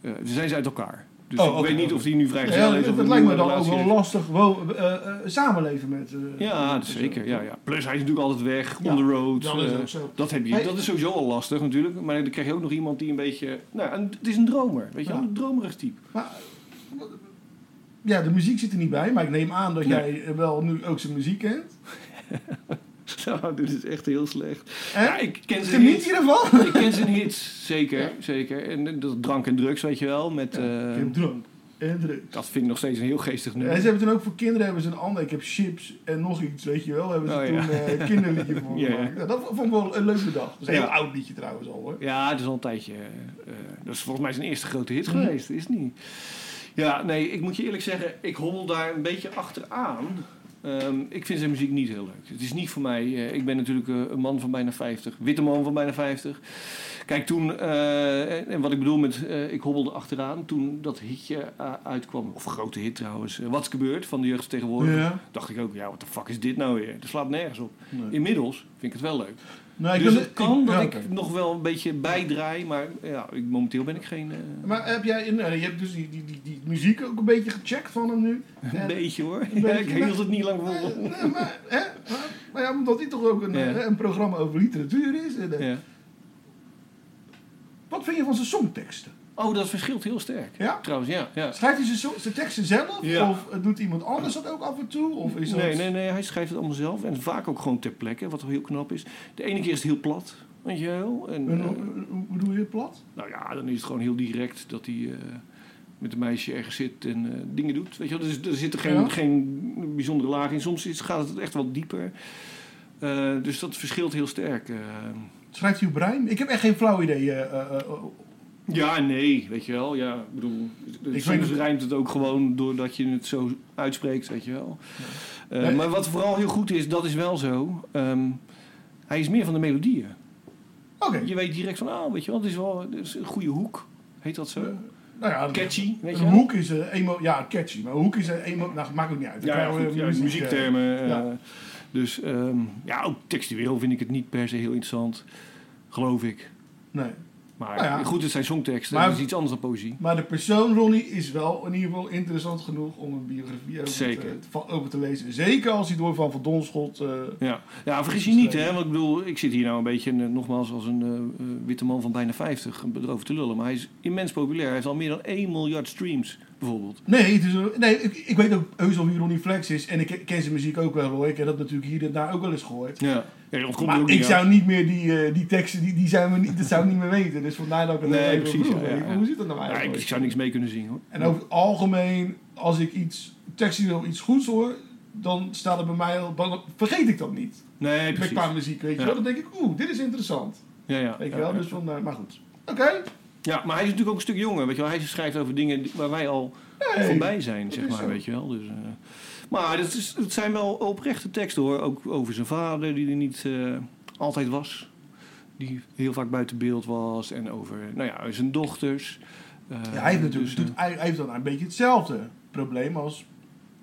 [SPEAKER 6] eh, zijn ze uit elkaar. Dus
[SPEAKER 7] Oh,
[SPEAKER 6] ik
[SPEAKER 7] oké,
[SPEAKER 6] weet niet
[SPEAKER 7] oké.
[SPEAKER 6] of hij nu
[SPEAKER 7] Ja,
[SPEAKER 6] vrijgezel is.
[SPEAKER 7] dat
[SPEAKER 6] of een
[SPEAKER 7] lijkt me
[SPEAKER 6] nieuwe
[SPEAKER 7] dan ook
[SPEAKER 6] relatie
[SPEAKER 7] wel
[SPEAKER 6] heeft.
[SPEAKER 7] lastig. Wel, eh, eh, samenleven met... eh,
[SPEAKER 6] Ja,
[SPEAKER 7] met-
[SPEAKER 6] dat zeker. Ja, ja. Plus hij is natuurlijk altijd weg,
[SPEAKER 7] Ja,
[SPEAKER 6] on the road.
[SPEAKER 7] Dat is
[SPEAKER 6] eh,
[SPEAKER 7] ook zo.
[SPEAKER 6] dat, heb je,
[SPEAKER 7] Hey.
[SPEAKER 6] dat is sowieso al lastig natuurlijk, maar dan krijg je ook nog iemand die een beetje... Nou, een- het is een dromer, weet je wel,
[SPEAKER 7] Ja.
[SPEAKER 6] een dromerig type.
[SPEAKER 7] Maar, ja, de muziek zit er niet bij, maar ik neem aan dat
[SPEAKER 6] Nee.
[SPEAKER 7] jij wel nu ook zijn muziek kent.
[SPEAKER 6] Nou, dit is echt heel slecht.
[SPEAKER 7] Hè?
[SPEAKER 6] Ja, ik ken ze
[SPEAKER 7] Geniet je ervan?
[SPEAKER 6] Ik ken zijn hits, zeker, zeker. En eh, dat drank en drugs, weet je wel. Met, eh,
[SPEAKER 7] Ik heb drank en drugs.
[SPEAKER 6] dat vind ik nog steeds een heel geestig
[SPEAKER 7] Ja, ze
[SPEAKER 6] nummer.
[SPEAKER 7] hebben toen ook voor kinderen hebben ze een ander. Ik heb chips en nog iets, weet je wel. Hebben ze
[SPEAKER 6] Oh,
[SPEAKER 7] toen
[SPEAKER 6] ja.
[SPEAKER 7] eh, een kinderliedje voor
[SPEAKER 6] Ja, ja.
[SPEAKER 7] gemaakt. Nou, dat vond ik wel een leuke dag. Dat is een
[SPEAKER 6] Ja.
[SPEAKER 7] heel oud liedje trouwens al hoor.
[SPEAKER 6] Ja, het is al een tijdje. eh, dat is volgens mij zijn eerste grote
[SPEAKER 7] Mhm.
[SPEAKER 6] hit geweest, is het niet? Ja, nee, ik moet je eerlijk zeggen, ik hobbel daar een beetje achteraan. Ehm, ik vind zijn muziek niet heel leuk. Het is niet voor mij. eh, ik ben natuurlijk eh, een man van bijna 50, witte man van bijna 50. Kijk, toen, eh, en- en wat ik bedoel met eh, ik hobbelde achteraan, toen dat hitje eh, uitkwam, of grote hit trouwens, eh, Wat is gebeurd van de jeugd tegenwoordig.
[SPEAKER 7] Ja.
[SPEAKER 6] dacht ik ook, ja, wat de fuck is dit nou weer? Dat slaat nergens op.
[SPEAKER 7] Nee.
[SPEAKER 6] Inmiddels vind ik het wel leuk.
[SPEAKER 7] Nou, ik
[SPEAKER 6] dus
[SPEAKER 7] wil-
[SPEAKER 6] het kan dat
[SPEAKER 7] ja,
[SPEAKER 6] ik
[SPEAKER 7] oké.
[SPEAKER 6] nog wel een beetje bijdraai, maar ja, ik, momenteel ben ik geen... eh,
[SPEAKER 7] Maar heb jij, nou, je hebt dus die, die, die, die muziek ook een beetje gecheckt van hem nu.
[SPEAKER 6] een
[SPEAKER 7] En-
[SPEAKER 6] beetje hoor.
[SPEAKER 7] beetje,
[SPEAKER 6] Ja, ik
[SPEAKER 7] maar-
[SPEAKER 6] hield het niet lang vol.
[SPEAKER 7] Eh, nee, maar, hè? Maar, maar ja, omdat dit toch ook een,
[SPEAKER 6] Ja.
[SPEAKER 7] eh, een programma over literatuur is. en, eh,
[SPEAKER 6] Ja.
[SPEAKER 7] Wat vind je van zijn songteksten?
[SPEAKER 6] Oh, dat verschilt heel sterk.
[SPEAKER 7] Ja?
[SPEAKER 6] Trouwens, ja. ja.
[SPEAKER 7] Schrijft hij zijn, zo- zijn teksten zelf?
[SPEAKER 6] Ja.
[SPEAKER 7] Of eh, doet iemand anders dat ook af en toe? Of is dat...
[SPEAKER 6] Nee, nee, nee, hij schrijft het allemaal zelf. En vaak ook gewoon ter plekke, wat heel knap is. De ene keer is het heel plat, weet je wel. En,
[SPEAKER 7] En
[SPEAKER 6] eh,
[SPEAKER 7] hoe- hoe- hoe doe je het plat?
[SPEAKER 6] nou ja, dan is het gewoon heel direct dat hij eh, met een meisje ergens zit en eh, dingen doet. Weet je wel, dus er zit er geen,
[SPEAKER 7] Ja.
[SPEAKER 6] geen bijzondere laag in. Soms is, gaat het echt wat dieper. Eh, dus dat verschilt heel sterk. eh.
[SPEAKER 7] Schrijft hij op brein? Ik heb echt geen flauw idee. eh, eh, eh, oh.
[SPEAKER 6] ja en nee, weet je wel. Ja, ik bedoel,
[SPEAKER 7] weet
[SPEAKER 6] soms
[SPEAKER 7] het-
[SPEAKER 6] rijmt het ook gewoon doordat je het zo uitspreekt, weet je wel. Eh,
[SPEAKER 7] Nee.
[SPEAKER 6] Maar wat vooral heel goed is, dat is wel zo. ehm, hij is meer van de melodieën.
[SPEAKER 7] Oké.
[SPEAKER 6] Je weet direct van, ah, weet je wel, dit is wel dit is een goede hoek. Heet dat zo?
[SPEAKER 7] Nou ja,
[SPEAKER 6] Catchy, weet je
[SPEAKER 7] een
[SPEAKER 6] wel?
[SPEAKER 7] hoek is een emo... Ja, catchy. Maar een hoek is een emo... Nou, maakt ook niet uit. Dan
[SPEAKER 6] Ja, ja,
[SPEAKER 7] krijgen
[SPEAKER 6] goed,
[SPEAKER 7] we
[SPEAKER 6] ja,
[SPEAKER 7] muziek, eh,
[SPEAKER 6] muziektermen. eh,
[SPEAKER 7] ja.
[SPEAKER 6] Dus ehm, ja, ook textueel vind ik het niet per se heel interessant. Geloof ik.
[SPEAKER 7] nee.
[SPEAKER 6] Maar
[SPEAKER 7] Nou ja.
[SPEAKER 6] goed, het zijn songteksten.
[SPEAKER 7] Maar-
[SPEAKER 6] dat is iets anders dan poëzie.
[SPEAKER 7] Maar de persoon Ronnie is wel in ieder geval interessant genoeg om een biografie over,
[SPEAKER 6] Zeker.
[SPEAKER 7] Te, van- over te lezen. Zeker als hij door Van Van Donschot... eh,
[SPEAKER 6] Ja, ja vergis je niet, hè. Want ik bedoel, ik zit hier nou een beetje, eh, nogmaals, als een eh, eh, witte man van bijna 50 bedroven te lullen. Maar hij is immens populair. Hij heeft al meer dan 1 miljard streams, bijvoorbeeld.
[SPEAKER 7] Nee, het is een- nee ik, ik weet ook heus wel wie Ronnie Flex is. En ik ken- ken zijn muziek ook wel hoor. Ik heb dat natuurlijk hier en daar ook wel eens gehoord.
[SPEAKER 6] Ja, ja dat ontkomt er
[SPEAKER 7] maar
[SPEAKER 6] ook
[SPEAKER 7] ik
[SPEAKER 6] niet
[SPEAKER 7] zou
[SPEAKER 6] aan.
[SPEAKER 7] niet meer die, eh, die teksten, die, die zijn we niet, dat zou ik niet meer weten. Dus vandaar dat ik het
[SPEAKER 6] Nee,
[SPEAKER 7] even
[SPEAKER 6] precies,
[SPEAKER 7] vroeg.
[SPEAKER 6] ja, ja, ja.
[SPEAKER 7] Hoe zit dat nou
[SPEAKER 6] Ja, ik,
[SPEAKER 7] eigenlijk?
[SPEAKER 6] ik zou niks mee kunnen zien, hoor.
[SPEAKER 7] En over het algemeen, als ik iets textueel iets goeds hoor, dan staat het bij mij al, dan vergeet ik dat niet.
[SPEAKER 6] Nee,
[SPEAKER 7] Met
[SPEAKER 6] precies.
[SPEAKER 7] qua muziek, weet je
[SPEAKER 6] Ja.
[SPEAKER 7] wel. Dan denk ik, oeh, dit is interessant.
[SPEAKER 6] Ja, ja.
[SPEAKER 7] Weet je
[SPEAKER 6] ja,
[SPEAKER 7] wel,
[SPEAKER 6] ja.
[SPEAKER 7] dus van, eh, maar goed. Oké.
[SPEAKER 6] Ja, maar hij is natuurlijk ook een stuk jonger. Weet je wel. Hij schrijft over dingen die- waar wij al
[SPEAKER 7] Nee,
[SPEAKER 6] voorbij zijn, zeg
[SPEAKER 7] is
[SPEAKER 6] maar.
[SPEAKER 7] zo.
[SPEAKER 6] Weet je wel. Dus, eh, maar het, is, het zijn wel oprechte teksten hoor. Ook over zijn vader, die er niet eh, altijd was. Die heel vaak buiten beeld was. En over nou ja, zijn dochters. Eh,
[SPEAKER 7] Ja, hij heeft natuurlijk
[SPEAKER 6] dus,
[SPEAKER 7] doet- hij, hij heeft dan een beetje hetzelfde probleem als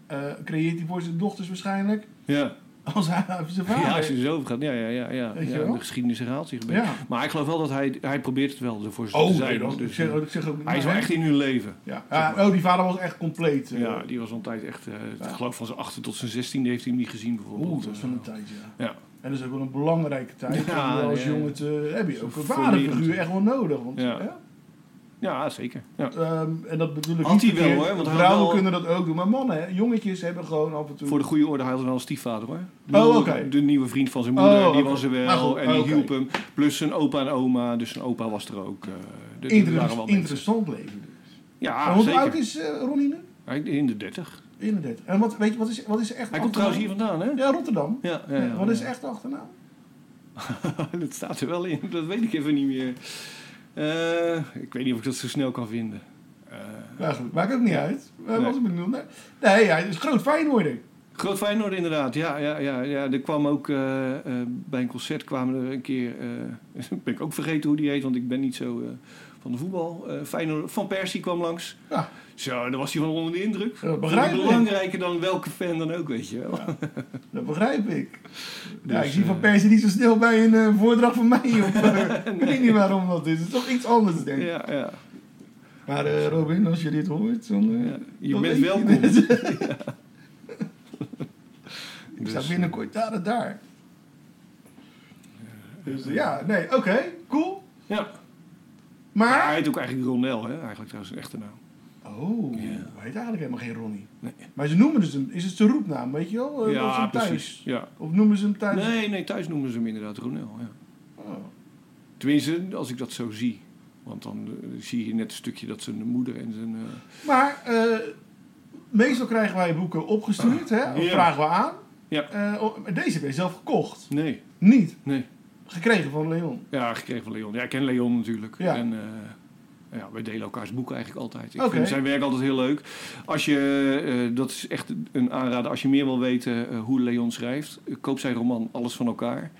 [SPEAKER 7] eh, creëert hij voor zijn dochters waarschijnlijk
[SPEAKER 6] eh, ja.
[SPEAKER 7] als hij over zijn
[SPEAKER 6] ja, als
[SPEAKER 7] vader.
[SPEAKER 6] je er zo over gaat. Ja, ja, ja, ja,
[SPEAKER 7] Weet je
[SPEAKER 6] ja
[SPEAKER 7] wel?
[SPEAKER 6] de geschiedenis herhaalt zich een
[SPEAKER 7] Ja.
[SPEAKER 6] beetje. Maar ik geloof wel dat hij, hij probeert het wel ervoor te
[SPEAKER 7] oh,
[SPEAKER 6] zijn.
[SPEAKER 7] nee,
[SPEAKER 6] hoor.
[SPEAKER 7] dat, ik,
[SPEAKER 6] Dus,
[SPEAKER 7] zeg,
[SPEAKER 6] eh,
[SPEAKER 7] ik zeg ook niet.
[SPEAKER 6] hij is wel echt in hun leven.
[SPEAKER 7] Ja, ja, oh, die vader was echt compleet. eh.
[SPEAKER 6] Ja, die was een tijd echt, eh, ik geloof van zijn 8 tot zijn 16 heeft hij hem niet gezien bijvoorbeeld.
[SPEAKER 7] Oeh, dat is van een
[SPEAKER 6] Eh,
[SPEAKER 7] tijd, ja.
[SPEAKER 6] Ja.
[SPEAKER 7] En dat is ook wel een belangrijke tijd.
[SPEAKER 6] Ja,
[SPEAKER 7] om wel als
[SPEAKER 6] ja, ja.
[SPEAKER 7] jongen te, heb je ook een
[SPEAKER 6] Voor
[SPEAKER 7] vaderfiguur
[SPEAKER 6] leren.
[SPEAKER 7] echt wel nodig. Want,
[SPEAKER 6] Ja.
[SPEAKER 7] hè?
[SPEAKER 6] Ja, zeker. Ja.
[SPEAKER 7] Ehm, en dat bedoel ik
[SPEAKER 6] Had
[SPEAKER 7] niet
[SPEAKER 6] hij wel,
[SPEAKER 7] verkeerd.
[SPEAKER 6] hoor, want hij had
[SPEAKER 7] Vrouwen
[SPEAKER 6] wel-
[SPEAKER 7] kunnen dat ook doen. Maar mannen, hè, jongetjes hebben gewoon af en toe...
[SPEAKER 6] Voor de goede orde, hij had wel een stiefvader hoor.
[SPEAKER 7] Oh,
[SPEAKER 6] De-
[SPEAKER 7] oké.
[SPEAKER 6] De nieuwe vriend van zijn moeder,
[SPEAKER 7] Oh,
[SPEAKER 6] die
[SPEAKER 7] oké.
[SPEAKER 6] was er
[SPEAKER 7] Maar
[SPEAKER 6] wel
[SPEAKER 7] goed,
[SPEAKER 6] en die
[SPEAKER 7] oké.
[SPEAKER 6] hielp hem. Plus zijn opa en oma, dus zijn opa was er ook. eh, dus er
[SPEAKER 7] Inter-
[SPEAKER 6] waren wel mensen.
[SPEAKER 7] interessant leven. dus.
[SPEAKER 6] Ja,
[SPEAKER 7] en hoe
[SPEAKER 6] zeker.
[SPEAKER 7] oud is eh, Ronnie nu?
[SPEAKER 6] Hij, in de 30.
[SPEAKER 7] 31. En wat, weet je, wat, is, wat is er echt
[SPEAKER 6] Hij komt trouwens hier vandaan hè?
[SPEAKER 7] Oh, Ja, Rotterdam.
[SPEAKER 6] Ja, ja,
[SPEAKER 7] Ja,
[SPEAKER 6] ja,
[SPEAKER 7] wat is
[SPEAKER 6] ja.
[SPEAKER 7] echt de achternaam?
[SPEAKER 6] dat staat er wel in, dat weet ik even niet meer. Eh, ik weet niet of ik dat zo snel kan vinden. Eh,
[SPEAKER 7] Ja, goed, maakt ook niet uit. Eh,
[SPEAKER 6] Nee.
[SPEAKER 7] Wat ik bedoel, nee. nee, hij is groot Feyenoorder.
[SPEAKER 6] Groot Feyenoord inderdaad, ja. ja, ja, ja. Er kwam ook eh, eh, bij een concert kwamen er een keer... eh, ben ik ook vergeten hoe die heet, want ik ben niet zo eh, van de voetbal. Eh, Feyenoord, van Persie kwam langs.
[SPEAKER 7] Ja.
[SPEAKER 6] Zo, daar was hij van onder de indruk.
[SPEAKER 7] Ja, dat
[SPEAKER 6] Vond
[SPEAKER 7] begrijp
[SPEAKER 6] ik
[SPEAKER 7] ik.
[SPEAKER 6] belangrijker dan welke fan dan ook, weet je wel.
[SPEAKER 7] Dat begrijp ik. ja,
[SPEAKER 6] Dus,
[SPEAKER 7] ik zie
[SPEAKER 6] eh,
[SPEAKER 7] Van Persie niet zo snel bij een eh, voordracht van mij. Op, eh, Ik weet niet waarom dat is. Het is toch iets anders, denk ik.
[SPEAKER 6] Ja, ja.
[SPEAKER 7] Maar eh, Robin, als je dit hoort, dan... eh,
[SPEAKER 6] ja. Je
[SPEAKER 7] dan
[SPEAKER 6] bent
[SPEAKER 7] Dus, weet
[SPEAKER 6] welkom.
[SPEAKER 7] het. ik
[SPEAKER 6] Dus,
[SPEAKER 7] eh, sta binnenkort daar en daar. Dus eh, ja, nee, oké, cool.
[SPEAKER 6] Ja. Maar hij
[SPEAKER 7] Maar...
[SPEAKER 6] heet ook eigenlijk Ronel, hè? eigenlijk trouwens een echte naam.
[SPEAKER 7] Oh, hij heet eigenlijk helemaal geen Ronnie.
[SPEAKER 6] Nee.
[SPEAKER 7] Maar ze noemen dus hem... Is het zijn roepnaam, weet je wel? Eh, of
[SPEAKER 6] ja,
[SPEAKER 7] zijn thuis?
[SPEAKER 6] precies. Ja.
[SPEAKER 7] Of noemen ze hem thuis?
[SPEAKER 6] Nee, nee, thuis noemen ze hem inderdaad Ronel, ja.
[SPEAKER 7] Oh.
[SPEAKER 6] Tenminste, als ik dat zo zie. Want dan eh, zie je net een stukje dat zijn moeder en zijn... eh,
[SPEAKER 7] Maar eh, meestal krijgen wij boeken opgestuurd, hè? Of
[SPEAKER 6] Ja.
[SPEAKER 7] vragen we aan.
[SPEAKER 6] Ja.
[SPEAKER 7] Eh, oh, maar deze heb je zelf gekocht.
[SPEAKER 6] Nee,
[SPEAKER 7] Niet.
[SPEAKER 6] nee.
[SPEAKER 7] Gekregen van Leon.
[SPEAKER 6] Ja, gekregen van Leon. Ja, ik ken Leon natuurlijk.
[SPEAKER 7] Ja.
[SPEAKER 6] En eh, ja, wij delen elkaars boeken eigenlijk altijd. Ik
[SPEAKER 7] Oké.
[SPEAKER 6] vind zijn werk altijd heel leuk. Als je, eh, dat is echt een aanrader. Als je meer wil weten eh, hoe Leon schrijft, eh, koop zijn roman Alles van elkaar.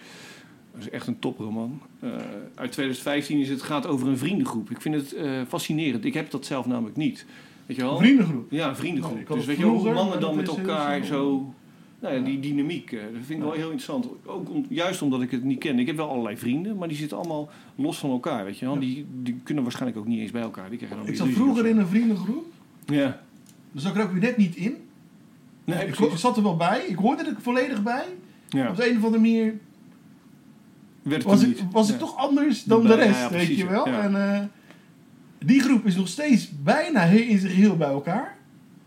[SPEAKER 6] Dat is echt een toproman. Eh, uit 2015 is het gaat over een vriendengroep. Ik vind het eh, fascinerend. Ik heb dat zelf namelijk niet. Weet je wel?
[SPEAKER 7] Vriendengroep.
[SPEAKER 6] Ja, een
[SPEAKER 7] Nou, ik
[SPEAKER 6] vriendengroep.
[SPEAKER 7] had
[SPEAKER 6] dus
[SPEAKER 7] het
[SPEAKER 6] weet je wel, hoe
[SPEAKER 7] vroeger,
[SPEAKER 6] mannen
[SPEAKER 7] maar
[SPEAKER 6] dan met
[SPEAKER 7] dat is heel
[SPEAKER 6] elkaar
[SPEAKER 7] snel.
[SPEAKER 6] zo... Nou ja, die dynamiek, eh, dat vind ik wel heel interessant. Ook om- juist omdat ik het niet ken. Ik heb wel allerlei vrienden, maar die zitten allemaal los van elkaar, weet je wel. Die, die kunnen waarschijnlijk ook niet eens bij elkaar. Die krijgen dan
[SPEAKER 7] Ik
[SPEAKER 6] weer
[SPEAKER 7] zat
[SPEAKER 6] ruzie
[SPEAKER 7] vroeger
[SPEAKER 6] of
[SPEAKER 7] in een vriendengroep.
[SPEAKER 6] zo. Ja.
[SPEAKER 7] Daar zat ik er ook weer net niet in.
[SPEAKER 6] Nee,
[SPEAKER 7] ik
[SPEAKER 6] precies.
[SPEAKER 7] zat er wel bij. Ik hoorde er volledig bij.
[SPEAKER 6] Ja.
[SPEAKER 7] Op de een of andere manier
[SPEAKER 6] Werd het
[SPEAKER 7] was
[SPEAKER 6] toen
[SPEAKER 7] ik,
[SPEAKER 6] niet.
[SPEAKER 7] was ik
[SPEAKER 6] Ja.
[SPEAKER 7] toch anders dan
[SPEAKER 6] Ja,
[SPEAKER 7] de
[SPEAKER 6] ja,
[SPEAKER 7] rest,
[SPEAKER 6] ja,
[SPEAKER 7] weet
[SPEAKER 6] precies,
[SPEAKER 7] je wel.
[SPEAKER 6] ja.
[SPEAKER 7] En, eh, Die groep is nog steeds bijna he- in zijn geheel bij elkaar.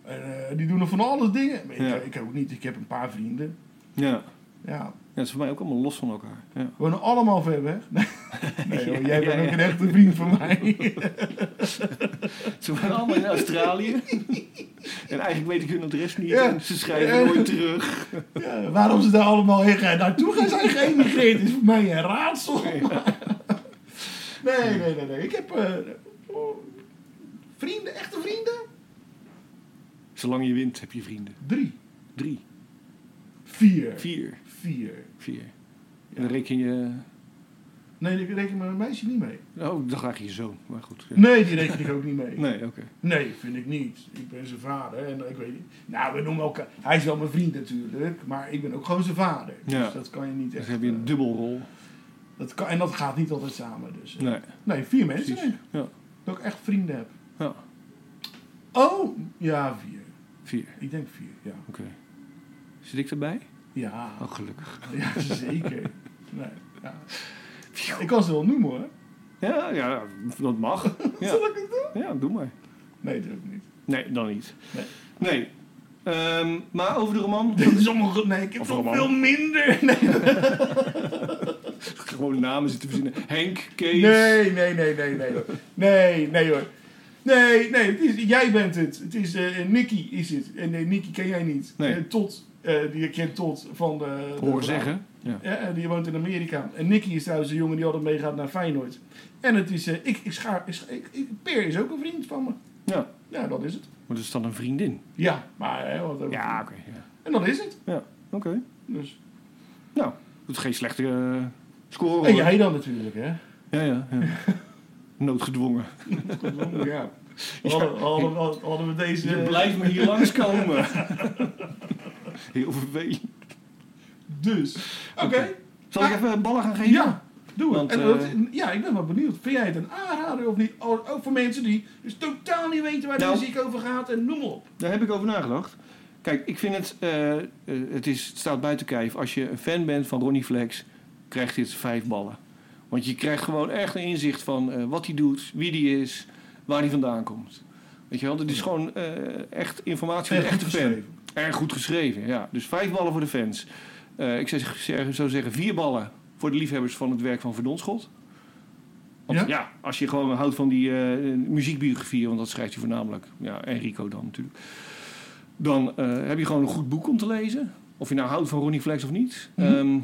[SPEAKER 7] Eh, die doen nog van alles dingen. Maar ik,
[SPEAKER 6] Ja.
[SPEAKER 7] ik ook niet. Ik heb een paar vrienden.
[SPEAKER 6] Ja.
[SPEAKER 7] Ja,
[SPEAKER 6] Ja, het is voor mij ook allemaal los van elkaar. Ja.
[SPEAKER 7] we wonen allemaal ver weg. Nee, nee, hoor,
[SPEAKER 6] Ja,
[SPEAKER 7] jij bent
[SPEAKER 6] ja,
[SPEAKER 7] ook
[SPEAKER 6] ja.
[SPEAKER 7] een echte vriend van mij.
[SPEAKER 6] Ze waren allemaal in Australië. en eigenlijk weet ik hun adres niet.
[SPEAKER 7] Ja.
[SPEAKER 6] En ze schrijven
[SPEAKER 7] Ja.
[SPEAKER 6] nooit terug.
[SPEAKER 7] Ja, waarom ze daar allemaal heen gaan, naartoe gaan zijn geëmigreerd, is voor mij een raadsel. Nee, nee, nee, nee. Ik heb eh, oh, vrienden, echte vrienden.
[SPEAKER 6] Zolang je wint, heb je vrienden.
[SPEAKER 7] Drie,
[SPEAKER 6] Drie,
[SPEAKER 7] vier, vier.
[SPEAKER 6] vier, vier. En dan reken je...
[SPEAKER 7] Nee, die reken mijn meisje niet mee.
[SPEAKER 6] Oh, dan ga je je zoon. Maar goed. ja.
[SPEAKER 7] Nee, die reken ik ook niet mee.
[SPEAKER 6] Nee, oké.
[SPEAKER 7] Nee, vind ik niet. Ik ben zijn vader en ik weet niet. Nou, we noemen elkaar. Hij is wel mijn vriend natuurlijk, maar ik ben ook gewoon zijn vader.
[SPEAKER 6] Ja.
[SPEAKER 7] Dus dat kan je niet
[SPEAKER 6] Dus
[SPEAKER 7] echt.
[SPEAKER 6] heb je een
[SPEAKER 7] eh,
[SPEAKER 6] dubbelrol.
[SPEAKER 7] dat kan, en dat gaat niet altijd samen. Dus, eh.
[SPEAKER 6] Nee,
[SPEAKER 7] nee, vier mensen.
[SPEAKER 6] precies.
[SPEAKER 7] denk ik.
[SPEAKER 6] Ja,
[SPEAKER 7] Dat ik echt vrienden heb.
[SPEAKER 6] ja.
[SPEAKER 7] Oh, ja, vier.
[SPEAKER 6] vier.
[SPEAKER 7] Ik denk vier, ja.
[SPEAKER 6] Oké. Zit ik erbij?
[SPEAKER 7] Ja,
[SPEAKER 6] Oh, gelukkig.
[SPEAKER 7] ja zeker. Nee, ja. Ik kan ze wel noemen hoor.
[SPEAKER 6] Ja, ja, dat mag.
[SPEAKER 7] Zal
[SPEAKER 6] Ja,
[SPEAKER 7] ik het doen?
[SPEAKER 6] ja doe maar.
[SPEAKER 7] Nee, dat ook niet.
[SPEAKER 6] Nee, dan niet.
[SPEAKER 7] Nee.
[SPEAKER 6] Nee. Ehm, maar over de roman.
[SPEAKER 7] Dit is allemaal... goed. Nee, ik heb
[SPEAKER 6] Of
[SPEAKER 7] nog
[SPEAKER 6] roman.
[SPEAKER 7] veel minder. Nee,
[SPEAKER 6] Gewoon namen zitten verzinnen. Henk, Kees.
[SPEAKER 7] nee, nee, nee, nee. Nee, nee, nee hoor. Nee, nee, het is, jij bent het. Het is eh Nicky is het. En nee, Nicky ken jij niet.
[SPEAKER 6] Nee.
[SPEAKER 7] Eh, tot, eh, die je kent Tot van de... de-
[SPEAKER 6] Hoor zeggen. Ja.
[SPEAKER 7] Ja, en die woont in Amerika. En Nicky is trouwens een jongen die altijd meegaat naar Feyenoord. En het is... eh, ik, ik schaar... Ik, scha- ik, ik- Peer is ook een vriend van me.
[SPEAKER 6] ja.
[SPEAKER 7] Ja, dat is het.
[SPEAKER 6] Maar dat is dan een vriendin.
[SPEAKER 7] Ja, maar hè, wat ook.
[SPEAKER 6] Ja, oké. Ja.
[SPEAKER 7] En dat is het.
[SPEAKER 6] Ja, oké.
[SPEAKER 7] Dus.
[SPEAKER 6] Nou, dat is geen slechte eh, score. hoor.
[SPEAKER 7] En jij dan natuurlijk, hè?
[SPEAKER 6] Ja, ja, ja. Noodgedwongen.
[SPEAKER 7] Ja. Hadden, hadden, hadden, hadden we deze.
[SPEAKER 6] Je blijft me hier langskomen. Heel vervelend.
[SPEAKER 7] Dus. Oké.
[SPEAKER 6] Zal ik even ballen gaan geven?
[SPEAKER 7] Ja, doe het.
[SPEAKER 6] Want,
[SPEAKER 7] En dat-
[SPEAKER 6] eh,
[SPEAKER 7] ja, ik ben wel benieuwd. Vind jij het een aanrader of niet? Ook ook voor mensen die dus totaal niet weten waar
[SPEAKER 6] Nou.
[SPEAKER 7] de muziek over gaat en noem maar op.
[SPEAKER 6] Daar heb ik over nagedacht. Kijk, ik vind het... eh, eh, het, is, het staat buiten kijf. Als je een fan bent van Ronnie Flex... krijgt dit vijf ballen. Want je krijgt gewoon echt een inzicht van... eh, wat hij doet, wie die is... waar hij vandaan komt. Weet je wel? Dit is gewoon eh, echt informatie van de echte fan. Erg goed geschreven, ja. Dus vijf ballen voor de fans. Eh, ik zou zeggen- zou zeggen vier ballen voor de liefhebbers van het werk van Verdonschot. Want ja?
[SPEAKER 7] Ja?
[SPEAKER 6] als je gewoon houdt van die eh muziekbiografieën, want dat schrijft hij voornamelijk. Ja, en Rico dan natuurlijk. Dan eh, heb je gewoon een goed boek om te lezen. Of je nou houdt van Ronnie Flex of niet.
[SPEAKER 7] Mhm.
[SPEAKER 6] Ehm,